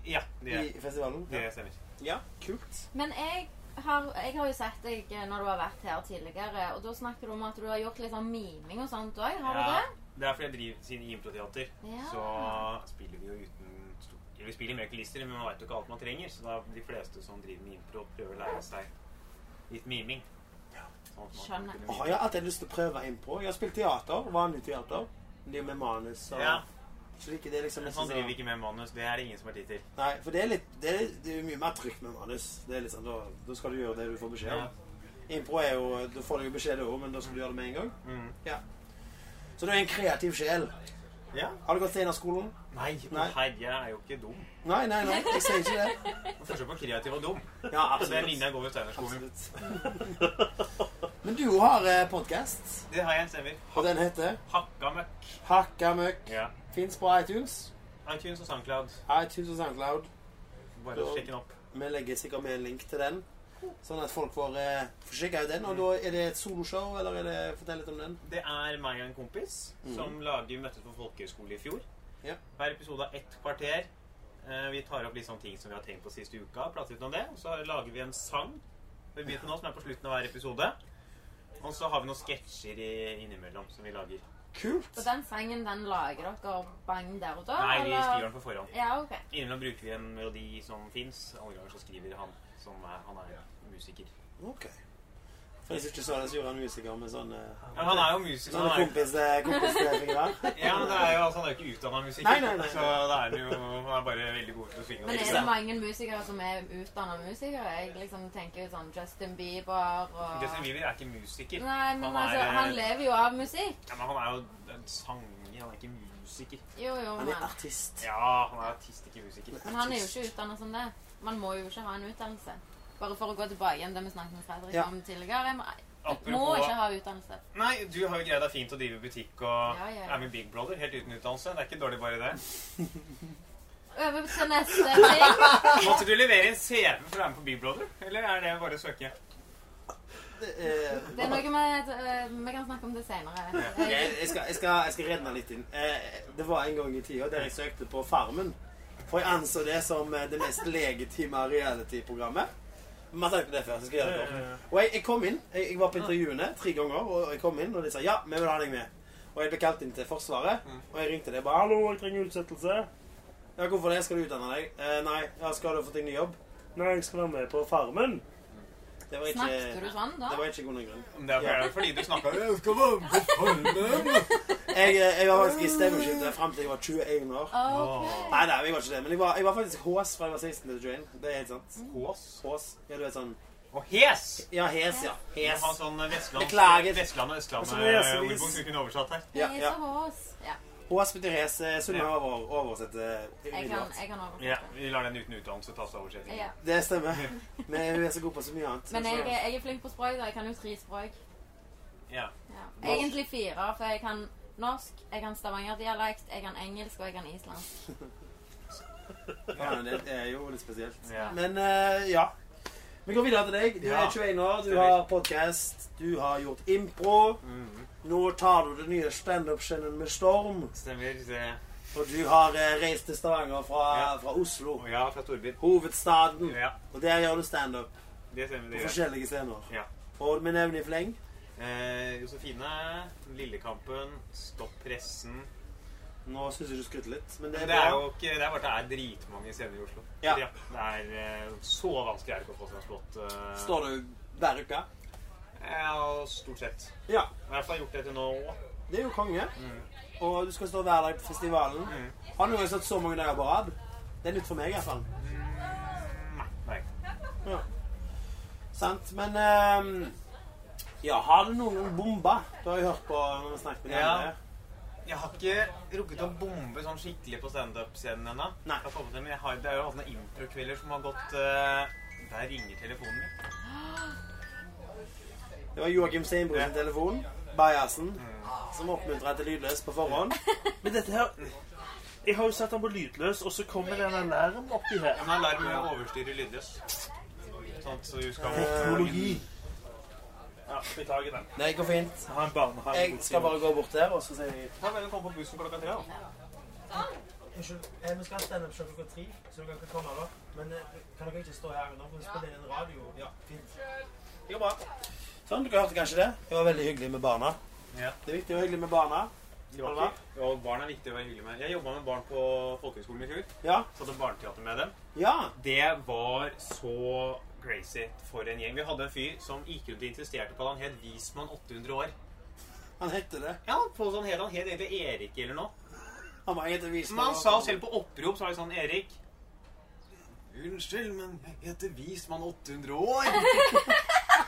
[SPEAKER 9] ja, det,
[SPEAKER 3] i festivalen.
[SPEAKER 9] det stemmer.
[SPEAKER 3] Ja, kult.
[SPEAKER 5] Men jeg har, jeg har jo sett deg eh, når du har vært her tidligere, og da snakker du om at du har gjort litt sånn miming og sånt òg. Har
[SPEAKER 9] Ja,
[SPEAKER 5] du
[SPEAKER 9] det er fordi jeg driver siden i improteater.
[SPEAKER 5] Ja.
[SPEAKER 9] Så spiller vi jo uten stor- ja, Vi spiller med kulisser, men man veit jo ikke alt man trenger. Så da de fleste som driver med impro, prøver å lære seg litt miming. Sånn at man kan
[SPEAKER 5] Skjønner.
[SPEAKER 9] kunne
[SPEAKER 3] Åh,
[SPEAKER 9] mime.
[SPEAKER 3] jeg har alltid lyst til å prøve impro. Jeg har spilt teater. Vanlig teater. Det er med manus og
[SPEAKER 9] Ja,
[SPEAKER 3] Så det er ikke det er liksom
[SPEAKER 9] men
[SPEAKER 3] ikke
[SPEAKER 9] han driver
[SPEAKER 3] så-
[SPEAKER 9] ikke med manus. Det er det ingen som har tid til.
[SPEAKER 3] Nei, for det er litt Det er, det er jo mye mer trygt med manus. Det er litt sånn, Da, da skal du gjøre det du får beskjed om. Impro er jo Da får du jo beskjed du òg, men da skal du gjøre det med en gang.
[SPEAKER 9] Mm.
[SPEAKER 3] Så du er en kreativ sjel.
[SPEAKER 9] Ja.
[SPEAKER 3] Har du gått Steinerskolen?
[SPEAKER 9] Nei,
[SPEAKER 3] Nei.
[SPEAKER 9] herre, jeg er jo ikke dum.
[SPEAKER 3] Nei, nei, nei. Jeg sier ikke det.
[SPEAKER 9] Forskjell på kreativ og dum.
[SPEAKER 3] Ja,
[SPEAKER 9] Så den
[SPEAKER 3] absolutt.
[SPEAKER 9] linja går ved Steinerskolen.
[SPEAKER 3] absolutt. Men du har eh, podkast,
[SPEAKER 9] Det har jeg en stemmer.
[SPEAKER 3] og den heter
[SPEAKER 9] Hakka møkk.
[SPEAKER 3] Hakka møkk.
[SPEAKER 9] Ja.
[SPEAKER 3] Fins på iTunes.
[SPEAKER 9] iTunes og SoundCloud.
[SPEAKER 3] iTunes og SoundCloud.
[SPEAKER 9] Bare sjekk den opp.
[SPEAKER 3] Vi legger sikkert med en link til den, sånn at folk får eh, få sjekka ut den. Og da er det et soloshow, eller er det Fortell litt om den.
[SPEAKER 9] Det er meg og en kompis som lager Møttes på folkehøyskole i fjor.
[SPEAKER 3] Ja.
[SPEAKER 9] Hver episode har ett kvarter. Eh, Vi tar opp litt sånne ting som vi har tenkt på siste uka. Prater litt om det. Og så lager vi en sang vi begynner nå, som er på slutten av hver episode. Og så har vi noen sketsjer i- innimellom som vi lager.
[SPEAKER 5] det? Og den sangen, den lager dere bang der og da?
[SPEAKER 9] Nei, vi
[SPEAKER 5] eller?
[SPEAKER 9] skriver den på forhånd.
[SPEAKER 5] Ja, ok.
[SPEAKER 9] Innimellom bruker vi en melodi som fins. Andre ganger så skriver han som er, han er musiker.
[SPEAKER 3] Ok. For jeg ikke så det, så gjorde han musiker med sånne,
[SPEAKER 9] Ja, han er jo musiker.
[SPEAKER 3] sånne
[SPEAKER 9] Han er jo
[SPEAKER 3] kompis, kompisfingre.
[SPEAKER 9] Ja, men det er jo, altså, han er jo ikke utdanna musiker,
[SPEAKER 3] Nei, nei, nei.
[SPEAKER 9] så da er han jo han er bare veldig god til å synge.
[SPEAKER 5] Men er det
[SPEAKER 3] sant?
[SPEAKER 5] mange musikere som er utdanna musikere? Jeg liksom tenker jo sånn Justin Bieber og
[SPEAKER 9] Justin Bieber er ikke musiker.
[SPEAKER 5] Nei, men
[SPEAKER 9] Han
[SPEAKER 5] han
[SPEAKER 9] er- eh,
[SPEAKER 5] altså, han lever jo av musikk.
[SPEAKER 9] Ja, men han er jo en sanger, han er ikke musiker.
[SPEAKER 5] Jo, jo,
[SPEAKER 3] Han
[SPEAKER 5] men
[SPEAKER 3] er artist.
[SPEAKER 9] Ja, han er artist, ikke musiker.
[SPEAKER 5] Men han er jo ikke utdanna som det. Man må jo ikke ha en utdannelse. Bare for å gå tilbake igjen det vi snakket med Fredrik
[SPEAKER 3] Ja.
[SPEAKER 5] om tidligere. Man må
[SPEAKER 9] Apropos-
[SPEAKER 5] ikke ha utdannelse.
[SPEAKER 9] Nei, du har jo greid deg fint å drive butikk og
[SPEAKER 5] Ja, ja.
[SPEAKER 9] er med i Big Brother helt uten utdannelse. Det er ikke dårlig bare det.
[SPEAKER 5] Over til neste ting.
[SPEAKER 9] Måtte du levere en CV for å være med på Big Brother, eller er det bare å søke?
[SPEAKER 3] Det er-
[SPEAKER 5] Det er noe med eh, Vi kan snakke om det senere. Eh,
[SPEAKER 3] Jeg, jeg, skal, jeg, skal, jeg skal redde meg litt inn. Eh, det var en gang i tida der jeg søkte på Farmen. For jeg anså det som eh, det mest legitime reality-programmet. Men jeg har sagt det før, så skal jeg gjøre det kort. Og jeg, jeg kom inn. Jeg, jeg var på intervjuene tre ganger, og jeg kom inn, og de sa ja, vi vil ha deg med. Og jeg ble kalt inn til Forsvaret, og jeg ringte dem bare 'Hallo, jeg trenger utsettelse'. 'Ja, hvorfor det? Skal du utdanne deg?' Eh, 'Nei. Ja, skal du få deg ny jobb?' 'Nei, jeg skal være med på Farmen'. Det var ikke,
[SPEAKER 5] Snakket du sånn da?
[SPEAKER 3] det var ikke god nok grunn.
[SPEAKER 9] Om Det er
[SPEAKER 3] Ja.
[SPEAKER 9] fordi, fordi du snakka Jeg
[SPEAKER 3] Jeg, eh, jeg var faktisk i stemmeskiftet fram til jeg var 21 år.
[SPEAKER 5] Ok.
[SPEAKER 3] Nei, nei, jeg var ikke det, men jeg var, jeg var faktisk hås fra jeg var 16 til 21. Det er helt sant.
[SPEAKER 9] Hås
[SPEAKER 3] Hås. Ja, du vet sånn
[SPEAKER 9] og hes!
[SPEAKER 3] Ja, hes, ja.
[SPEAKER 9] Jeg har
[SPEAKER 3] Hes.
[SPEAKER 9] sånn Vestland,
[SPEAKER 3] Beklager.
[SPEAKER 9] Vestland og
[SPEAKER 3] Og så må jeg lese
[SPEAKER 9] Østlandet-ordbok som vi kunne oversatt her.
[SPEAKER 3] Ja,
[SPEAKER 5] Pris
[SPEAKER 3] ja.
[SPEAKER 5] og hås. Ja.
[SPEAKER 3] Hås betyr hes. eh, Sunna
[SPEAKER 9] Ja.
[SPEAKER 3] over, oversetter
[SPEAKER 5] Jeg kan,
[SPEAKER 3] umiddelbart.
[SPEAKER 5] jeg kan oversette.
[SPEAKER 9] Ja, Vi lar den uten utdannelse ta seg av oversettingen.
[SPEAKER 5] Ja.
[SPEAKER 3] Det stemmer. Men hun er så god på så mye annet.
[SPEAKER 5] Men jeg, er- jeg er flink på språk, da. Jeg kan jo tre språk.
[SPEAKER 9] Ja.
[SPEAKER 5] Ja. Egentlig fire, for jeg kan norsk, jeg kan stavangerdialekt, jeg kan engelsk og jeg kan islandsk.
[SPEAKER 3] Ja, men det er jo litt spesielt.
[SPEAKER 9] Ja.
[SPEAKER 3] Men eh, ja. Vi går videre til deg. Du
[SPEAKER 9] Ja.
[SPEAKER 3] er 21 år, du
[SPEAKER 9] Stemmer.
[SPEAKER 3] har podkast, du har gjort impro.
[SPEAKER 9] Mhm.
[SPEAKER 3] Nå tar du det nye standup-skjennet med storm.
[SPEAKER 9] Stemmer. det.
[SPEAKER 3] Og du har eh, reist til Stavanger fra,
[SPEAKER 9] Ja.
[SPEAKER 3] fra Oslo,
[SPEAKER 9] Å Ja, fra Storbyen.
[SPEAKER 3] hovedstaden.
[SPEAKER 9] Ja,
[SPEAKER 3] Og der gjør du standup
[SPEAKER 9] det stemmer.
[SPEAKER 3] på
[SPEAKER 9] det gjør.
[SPEAKER 3] forskjellige scener.
[SPEAKER 9] Ja.
[SPEAKER 3] Og vi nevner i fleng.
[SPEAKER 9] Eh, Josefine, Lillekampen, Stopp pressen.
[SPEAKER 3] Nå syns jeg du skryter litt, men det
[SPEAKER 9] Det
[SPEAKER 3] er, bra.
[SPEAKER 9] er jo ikke, det er bare at det er dritmange scener i Oslo.
[SPEAKER 3] Ja.
[SPEAKER 9] det er eh, Så vanskelig er det ikke å få seg en slått. eh,
[SPEAKER 3] Står du hver uke?
[SPEAKER 9] Ja, stort sett.
[SPEAKER 3] Ja.
[SPEAKER 9] I hvert fall gjort det til nå òg.
[SPEAKER 3] Det er jo konge. Og du skal stå hver dag på festivalen. Har du noen gang stått så mange dager på rad? Det er nytt for meg, i hvert fall.
[SPEAKER 9] Nei.
[SPEAKER 3] Sant? Men ehm, Ja, har du noen gang bomba? Du har jo hørt på når vi snakket med
[SPEAKER 9] Ja.
[SPEAKER 3] deg.
[SPEAKER 9] Jeg har ikke rukket å bombe sånn skikkelig på standup-scenen ennå.
[SPEAKER 3] Nei.
[SPEAKER 9] Jeg har fått med det, men jeg har- Det er jo hatt noen impro-kvelder som har gått eh, Der ringer telefonen min.
[SPEAKER 3] Det var Joakim Steinbro sin telefon. Bajasen. Som oppmuntra til lydløs på forhånd.
[SPEAKER 4] Men dette her Jeg har jo satt den på lydløs, og så kommer det en alarm oppi her.
[SPEAKER 9] En alarm overstyrer lydløs. Sånn at så du skal
[SPEAKER 4] Teknologi. Ja, beklager den.
[SPEAKER 3] Det går fint.
[SPEAKER 4] Jeg har en barnehage.
[SPEAKER 3] Jeg skal bare gå bort der, og så sier jeg
[SPEAKER 9] Ta vel og kom på bussen klokka tre, da.
[SPEAKER 3] Unnskyld, eh, vi skal ha standup show klokka tre, så dere kan komme da. Men eh, kan dere ikke stå her under, for vi spiller inn radio? Ja, fint. Det går bra. Sånn, dere hørte kanskje det? Det var veldig hyggelig med barna.
[SPEAKER 9] Ja.
[SPEAKER 3] Det er viktig å være hyggelig med barna.
[SPEAKER 9] Ja, og barn er viktig å være hyggelig med. Jeg jobba med barn på folkehøgskolen i fjor.
[SPEAKER 3] Ja.
[SPEAKER 9] Så hadde barneteater med dem.
[SPEAKER 3] Ja.
[SPEAKER 9] Det var så crazy for en gjeng. Vi hadde en fyr som gikk rundt og insisterte på at han het Wiesmann 800 år.
[SPEAKER 3] Han hette det.
[SPEAKER 9] Ja, på sånn het han het egentlig Erik eller noe.
[SPEAKER 3] Han var egentlig vismann.
[SPEAKER 9] Men han sa selv på opprop, så var det sånn Erik Unnskyld, men jeg heter Vismann 800 år.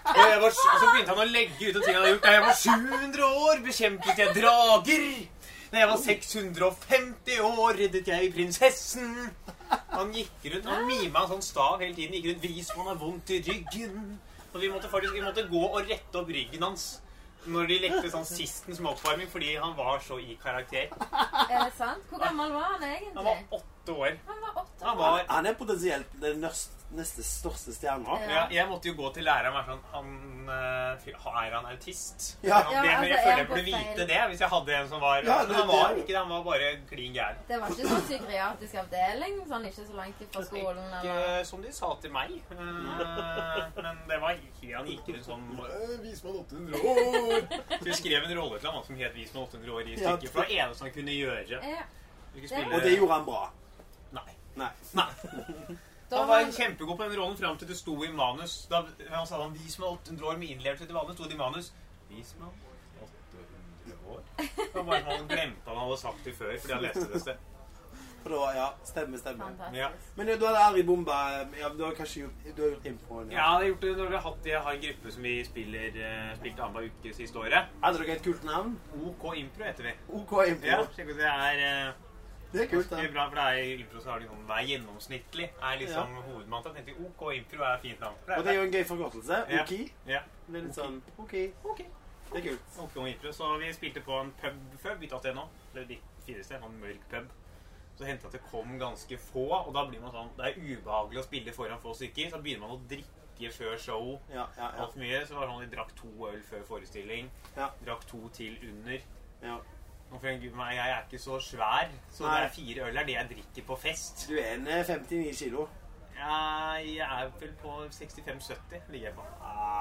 [SPEAKER 9] Og jeg var, så så begynte han å legge ut om ting han hadde gjort. Da jeg var 700 år, bekjempet jeg drager. Da jeg var 650 år, reddet jeg prinsessen. Han gikk rundt, han mima en sånn stav hele tiden. Gikk rundt 'Vismann har vondt i ryggen'. Og vi måtte faktisk vi måtte gå og rette opp ryggen hans når de lekte sånn sisten som oppvarming, fordi han var så i karakter.
[SPEAKER 5] Er det sant? Hvor gammel var han
[SPEAKER 9] Han
[SPEAKER 5] egentlig?
[SPEAKER 9] var åtte år.
[SPEAKER 5] Han var åtte
[SPEAKER 9] Han
[SPEAKER 5] år.
[SPEAKER 9] var
[SPEAKER 3] Han er potensielt den nørst- neste største stjerna.
[SPEAKER 5] Ja.
[SPEAKER 9] Ja, jeg måtte jo gå til læreren og være sånn han, eh, fy- Er han autist?
[SPEAKER 3] Ja.
[SPEAKER 9] Han,
[SPEAKER 5] Ja,
[SPEAKER 9] det,
[SPEAKER 5] altså,
[SPEAKER 9] jeg føler
[SPEAKER 5] jeg
[SPEAKER 9] jeg burde
[SPEAKER 5] går feil.
[SPEAKER 9] vite det hvis jeg hadde en som var
[SPEAKER 3] Ja,
[SPEAKER 9] men
[SPEAKER 3] det-
[SPEAKER 9] Han var
[SPEAKER 3] det-
[SPEAKER 9] ikke det, han var bare klin gæren.
[SPEAKER 5] Det var ikke sånn psykiatrisk avdeling, sånn ikke så langt fra skolen eller
[SPEAKER 9] Ikke som de sa til meg. eh, Men det var ikke Han gikk rundt sånn «Øh, Vismann 800 år! Så vi skrev en rolle til ham som het Vismann 800 år i
[SPEAKER 3] Ja.
[SPEAKER 9] stykket. For det var det eneste han kunne gjøre.
[SPEAKER 5] Ja.
[SPEAKER 9] Vi kunne spille-
[SPEAKER 3] Og det gjorde han bra.
[SPEAKER 9] Nei.
[SPEAKER 3] Nei.
[SPEAKER 5] Da
[SPEAKER 9] Han
[SPEAKER 5] var
[SPEAKER 9] var
[SPEAKER 5] han-
[SPEAKER 9] kjempegod på den rollen fram til det sto i manus. Da han sa han 'Vi som er 800 år med innlevelse til vanlig', sto det i manus. Vi som er 800 år Det var bare sånn Han glemte han hadde sagt det før, fordi han leste det et sted.
[SPEAKER 3] For da, ja, stemme, stemme.
[SPEAKER 5] Fantastisk.
[SPEAKER 9] Ja.
[SPEAKER 3] Men du hadde aldri bomba eh, ja, Du har kanskje gjort, du har gjort improen?
[SPEAKER 9] Ja, det har gjort det når vi har hatt Jeg har en gruppe som vi spiller eh, spilte annenhver uke siste året.
[SPEAKER 3] Hadde dere et kult navn?
[SPEAKER 9] OK Impro heter vi.
[SPEAKER 3] OK impro.
[SPEAKER 9] Ja, sjekk ut, det er eh,
[SPEAKER 3] Det er kult,
[SPEAKER 9] det er
[SPEAKER 3] det.
[SPEAKER 9] bra, for det er i impro så har de sånn Vær gjennomsnittlig er liksom hovedmantra. Tenkte jeg, OK Impro er fint navn. For
[SPEAKER 3] Og det er jo en gøy forkortelse.
[SPEAKER 9] Ja.
[SPEAKER 3] OK.
[SPEAKER 9] ja.
[SPEAKER 3] Det er litt sånn OK.
[SPEAKER 9] Ok.
[SPEAKER 3] Det er kult.
[SPEAKER 9] Holdt på med impro, så vi spilte på en pub før. Bytta til nå. Det er de fineste. En mørk pub. Så hendte det at det kom ganske få, og da blir man sånn Det er ubehagelig å spille foran få stykker. Så begynner man å drikke før show.
[SPEAKER 3] Ja, ja, ja.
[SPEAKER 9] Alt mye. Så var det sånn de drakk to øl før forestilling.
[SPEAKER 3] Ja.
[SPEAKER 9] Drakk to til under.
[SPEAKER 3] ja.
[SPEAKER 9] Og for en gud meg, jeg er ikke så svær, så
[SPEAKER 3] Nei.
[SPEAKER 9] det er fire øl er det jeg drikker på fest.
[SPEAKER 3] Du er en eh, 59 kilo.
[SPEAKER 9] Jeg er vel på 65-70, ligger jeg på.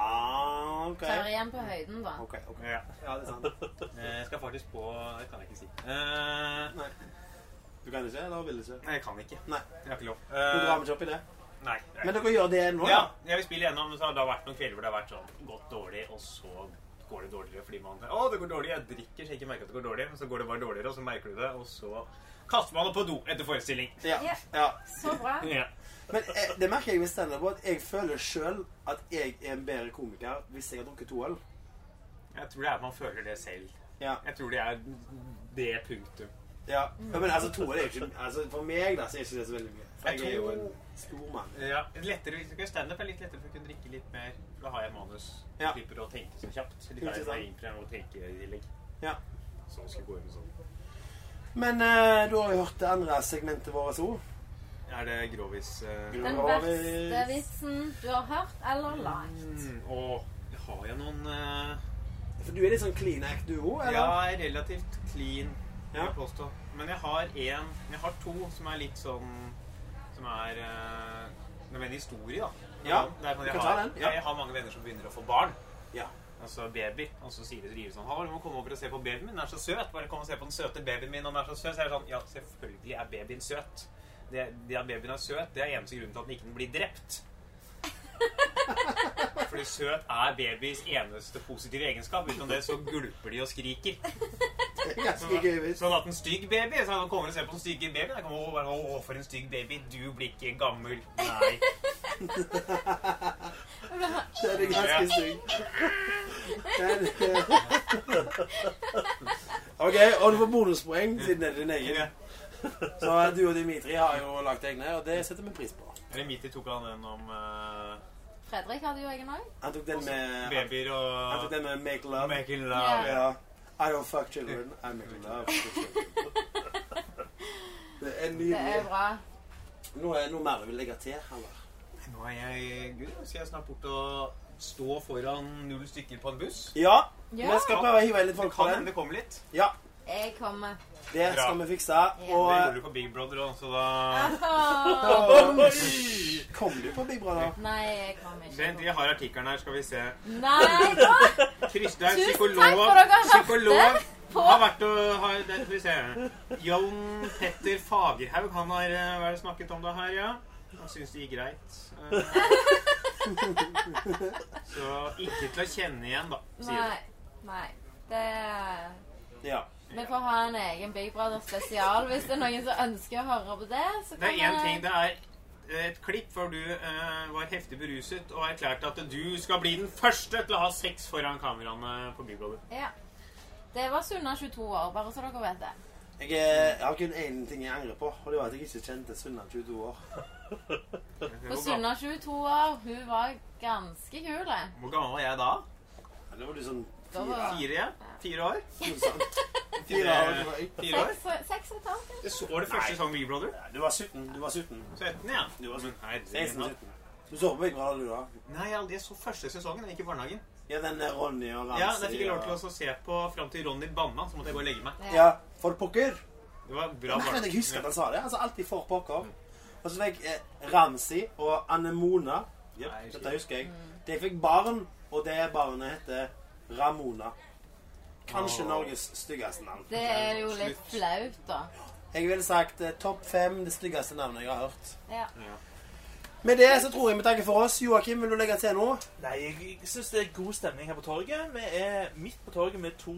[SPEAKER 3] Ah, OK.
[SPEAKER 5] Tør igjen på høyden, da.
[SPEAKER 3] OK. ok.
[SPEAKER 9] Ja.
[SPEAKER 3] Ja, det er sant.
[SPEAKER 9] Jeg Eh, skal faktisk på Det kan jeg ikke si. Eh,
[SPEAKER 3] Nei. Du kan ikke, eller vil ikke?
[SPEAKER 9] Nei, jeg kan ikke.
[SPEAKER 3] Nei.
[SPEAKER 9] Jeg har ikke lov.
[SPEAKER 3] Du
[SPEAKER 9] Eh,
[SPEAKER 3] drar meg ikke opp i det.
[SPEAKER 9] Nei.
[SPEAKER 3] Men dere gjør det nå,
[SPEAKER 9] ja,
[SPEAKER 3] da?
[SPEAKER 9] jeg vil spille gjennom, men så har det vært noen kvelder hvor det har vært sånn godt dårlig, og så går det dårligere fordi man Å, det går dårlig. Jeg drikker så jeg ikke merker at det går dårlig, men så går det bare dårligere, og så merker du det, og så kaster man det på do etter forestilling.
[SPEAKER 3] Ja.
[SPEAKER 5] Ja.
[SPEAKER 3] ja.
[SPEAKER 5] Så bra.
[SPEAKER 9] Ja.
[SPEAKER 3] Men eh, det merker jeg med standup at jeg føler sjøl at jeg er en bedre komiker hvis jeg har drukket to øl.
[SPEAKER 9] Jeg tror det er at man føler det selv.
[SPEAKER 3] Ja.
[SPEAKER 9] Jeg tror det er det punktum.
[SPEAKER 3] ja. ja men altså, to øl er jo ikke altså, For meg da, så er ikke det så veldig mye. For
[SPEAKER 9] Jeg
[SPEAKER 3] jeg er jo
[SPEAKER 9] tror-
[SPEAKER 3] en stor mann.
[SPEAKER 9] Ja, lettere hvis du kan standup, er litt lettere for å kunne drikke litt mer. for Da har jeg manus.
[SPEAKER 3] Ja.
[SPEAKER 9] Slipper å tenke så kjapt. Litt
[SPEAKER 3] Ikke
[SPEAKER 9] av
[SPEAKER 3] sant?
[SPEAKER 9] en improv å tenke i tillegg.
[SPEAKER 3] Ja.
[SPEAKER 9] Så skal jeg gå inn sånn.
[SPEAKER 3] Men eh, du har jo hørt det andre segmentet vårt òg.
[SPEAKER 9] er det grovis. eh,
[SPEAKER 5] Den verste vitsen du har hørt eller lagd.
[SPEAKER 9] Mm, og har jeg noen eh,
[SPEAKER 3] For du er litt sånn clean act, du òg,
[SPEAKER 9] Jeg
[SPEAKER 3] eller?
[SPEAKER 9] er relativt clean, vil
[SPEAKER 3] Ja.
[SPEAKER 9] jeg påstå. Men jeg har en, jeg har to som er litt sånn Som er eh, Det er en historie, da.
[SPEAKER 3] Ja,
[SPEAKER 9] det er sånn
[SPEAKER 3] du
[SPEAKER 9] jeg,
[SPEAKER 3] kan ta
[SPEAKER 9] har,
[SPEAKER 3] den, ja.
[SPEAKER 9] jeg har mange venner som begynner å få barn.
[SPEAKER 3] Ja.
[SPEAKER 9] Altså baby. Og så sier de til Rive sånn Hallo, du må komme over og se på babyen min. Den er så søt. Bare kom og se på den søte babyen min. Han er så søt. Så jeg er sånn Ja, selvfølgelig er babyen søt. Det, det at babyen er søt, det er eneste grunnen til at den ikke blir drept. Fordi søt er babyens eneste positive egenskap. Utenom det så gulper de og skriker.
[SPEAKER 3] Ganske gøy vits.
[SPEAKER 9] Så han har hatt en stygg baby. Så han kommer og ser på den stygge babyen. Jeg kommer og bare, Å, for en stygg baby. Du blir ikke gammel. Nei.
[SPEAKER 3] Det er ganske sykt. Den, eh, OK, og du får bonuspoeng siden det er din egen. Så du og Dimitri har jo lagd egne, og det setter vi pris på.
[SPEAKER 9] Remiti tok han en om eh,
[SPEAKER 5] Fredrik hadde jo egen òg.
[SPEAKER 3] Han tok den med,
[SPEAKER 9] babyer
[SPEAKER 3] han tok
[SPEAKER 9] og
[SPEAKER 3] den med Make Love.
[SPEAKER 9] making love.
[SPEAKER 3] Ja. I don't fuck children, I make love. to children. Det er
[SPEAKER 5] Det er
[SPEAKER 3] nydelig.
[SPEAKER 5] bra.
[SPEAKER 3] Noe, noe mer du vil legge til, eller?
[SPEAKER 9] Nå er jeg Gud, nå skal jeg snart bort og stå foran null stykker på en buss.
[SPEAKER 3] Ja,
[SPEAKER 5] Ja.
[SPEAKER 3] vi skal prøve å hive inn litt
[SPEAKER 9] Det
[SPEAKER 3] folk på
[SPEAKER 9] kan hende
[SPEAKER 3] den.
[SPEAKER 9] det kommer litt.
[SPEAKER 3] Ja,
[SPEAKER 5] Jeg kommer.
[SPEAKER 3] det skal vi fikse.
[SPEAKER 9] Det
[SPEAKER 3] Og eh,
[SPEAKER 9] gjorde du på Big Brother òg, så da
[SPEAKER 5] Åh,
[SPEAKER 3] kom du på Big Brother?
[SPEAKER 5] Nei, jeg kommer
[SPEAKER 9] Vent,
[SPEAKER 5] ikke.
[SPEAKER 9] jeg har artikkelen her, skal vi se.
[SPEAKER 5] Nei, da!
[SPEAKER 9] Kristian,
[SPEAKER 5] Tusen takk
[SPEAKER 9] psykolog,
[SPEAKER 5] for at dere har
[SPEAKER 9] psykolog
[SPEAKER 5] hatt det på
[SPEAKER 9] har vært og har, der, Skal vi se Jon Petter Fagerhaug, han har eh, Hva er det snakket om da her, ja? Han syns det gikk greit. Eh, Så ikke til å kjenne igjen, da, sier
[SPEAKER 5] Nei. Nei. Det
[SPEAKER 3] Ja.
[SPEAKER 5] Vi får ha en egen Big Brother spesial hvis det er noen som ønsker å høre på det. Så
[SPEAKER 9] du. Det
[SPEAKER 5] kan
[SPEAKER 9] er
[SPEAKER 5] jeg-
[SPEAKER 9] én ting. Det er et klipp hvor du eh, var heftig beruset og erklærte at du skal bli den første til å ha sex foran kameraene på Big Brother.
[SPEAKER 5] Ja. Det var Sunna 22 år, bare så dere vet det.
[SPEAKER 3] Jeg, eh, jeg har kun én ting jeg angrer på, og det var at jeg ikke kjente Sunna 22 år.
[SPEAKER 5] For Sunna 22 år, hun var ganske kul.
[SPEAKER 9] Hvor gammel var jeg da?
[SPEAKER 3] Ja, Det var du sånn
[SPEAKER 5] Da var
[SPEAKER 9] Fire? ja? Fire år? Eh,
[SPEAKER 3] noe sånt. Fire år. tror jeg.
[SPEAKER 9] Fire år?
[SPEAKER 5] seks, seks og et halvt.
[SPEAKER 9] Det så var det første sesong Big Brother.
[SPEAKER 3] Ja, Du var 17. Du var 17.
[SPEAKER 9] 17, ja.
[SPEAKER 3] Du var 17.
[SPEAKER 9] Herregud.
[SPEAKER 3] 16-17. Du så på Big Brother, du, da?
[SPEAKER 9] Nei, jeg aldri- jeg så første sesongen. Jeg gikk i barnehagen.
[SPEAKER 3] Ja, den der Ronny og Ramsi
[SPEAKER 9] Ja, Der fikk jeg lov til
[SPEAKER 3] og-
[SPEAKER 9] å se på fram til Ronny banna, så måtte jeg gå og legge meg.
[SPEAKER 3] Ja, for pokker.
[SPEAKER 9] Det var bra
[SPEAKER 3] Nei, men
[SPEAKER 9] barn.
[SPEAKER 3] jeg husker at han sa det. Altså, alltid for pokker. Og så fikk eh, Ramsi og Anemona Jep,
[SPEAKER 9] Nei,
[SPEAKER 3] Dette husker jeg. De fikk barn, og det barnet heter Ramona. Kanskje
[SPEAKER 9] Åh.
[SPEAKER 3] Norges styggeste navn.
[SPEAKER 5] Det er jo litt
[SPEAKER 9] Slutt.
[SPEAKER 5] flaut, da.
[SPEAKER 3] Jeg ville sagt eh, topp fem det styggeste navnet jeg har hørt.
[SPEAKER 5] Ja.
[SPEAKER 3] Med det så tror jeg vi takker for oss. Joakim, vil du legge til noe?
[SPEAKER 4] Nei, jeg syns det er god stemning her på torget. Vi er midt på torget med to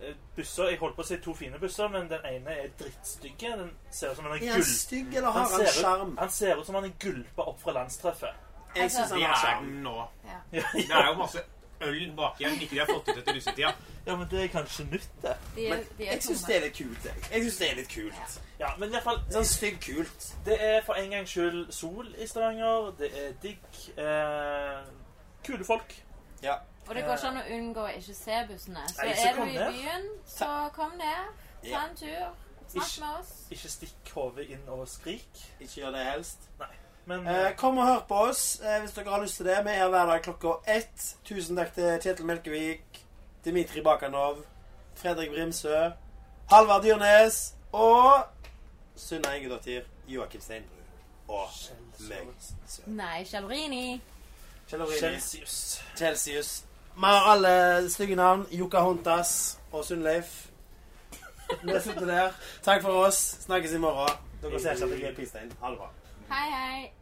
[SPEAKER 4] eh, busser. Jeg holdt på å si to fine busser, men den ene er drittstygge. Den ser ut som han er
[SPEAKER 3] Er han
[SPEAKER 4] gull...
[SPEAKER 3] stygg, eller
[SPEAKER 4] Han
[SPEAKER 3] har han
[SPEAKER 4] ser,
[SPEAKER 3] sjarm?
[SPEAKER 4] ut, han ser ut som han er gulpa opp fra landstreffet.
[SPEAKER 3] Jeg syns han
[SPEAKER 9] Det
[SPEAKER 3] har
[SPEAKER 9] er
[SPEAKER 3] sjarm.
[SPEAKER 9] den nå.
[SPEAKER 5] ja.
[SPEAKER 4] Ja,
[SPEAKER 9] Det er jo masse øl baki her som ikke de har fått ut etter russetida.
[SPEAKER 4] ja, men det er kanskje nytt, det.
[SPEAKER 5] De er,
[SPEAKER 3] Men
[SPEAKER 5] de er
[SPEAKER 3] jeg syns det er litt kult. Jeg, jeg synes det er litt kult.
[SPEAKER 4] Ja, men i hvert fall,
[SPEAKER 3] Sånn stygg kult.
[SPEAKER 4] det er for en gangs skyld sol i Stavanger. Det er digg. Eh, kule folk.
[SPEAKER 3] Ja.
[SPEAKER 5] Og det går ikke an å unngå å ikke se bussene. Så
[SPEAKER 4] Eh. Nei, så
[SPEAKER 5] er du
[SPEAKER 4] kom
[SPEAKER 5] i
[SPEAKER 4] ned.
[SPEAKER 5] byen, så kom ned. Ta
[SPEAKER 3] Ja.
[SPEAKER 5] en tur. Snakk
[SPEAKER 4] Ikke-
[SPEAKER 5] med oss.
[SPEAKER 4] Ikke stikk hodet inn og skrik.
[SPEAKER 3] Ikke gjør det helst.
[SPEAKER 4] Men
[SPEAKER 3] Eh, kom og hør på oss eh, hvis dere har lyst til det. Vi er her hver dag klokka ett. Tusen takk til Kjetil Melkevik, Dimitri Bakanov, Fredrik Brimsø, Halvard Dyrnes og Sunna Ingedottir, Joakim Steinbru
[SPEAKER 4] eh,
[SPEAKER 3] og meg. selv.
[SPEAKER 5] Nei, Kjellrini.
[SPEAKER 3] Kjell Orini.
[SPEAKER 4] Celsius.
[SPEAKER 3] Celsius. Vi har alle stygge navn. Jukka Hontas og Sunnleif. Det slutter der. Takk for oss. Snakkes i morgen. Dere ser ikke at jeg er pissstein. Ha det bra.
[SPEAKER 5] Hei, hei.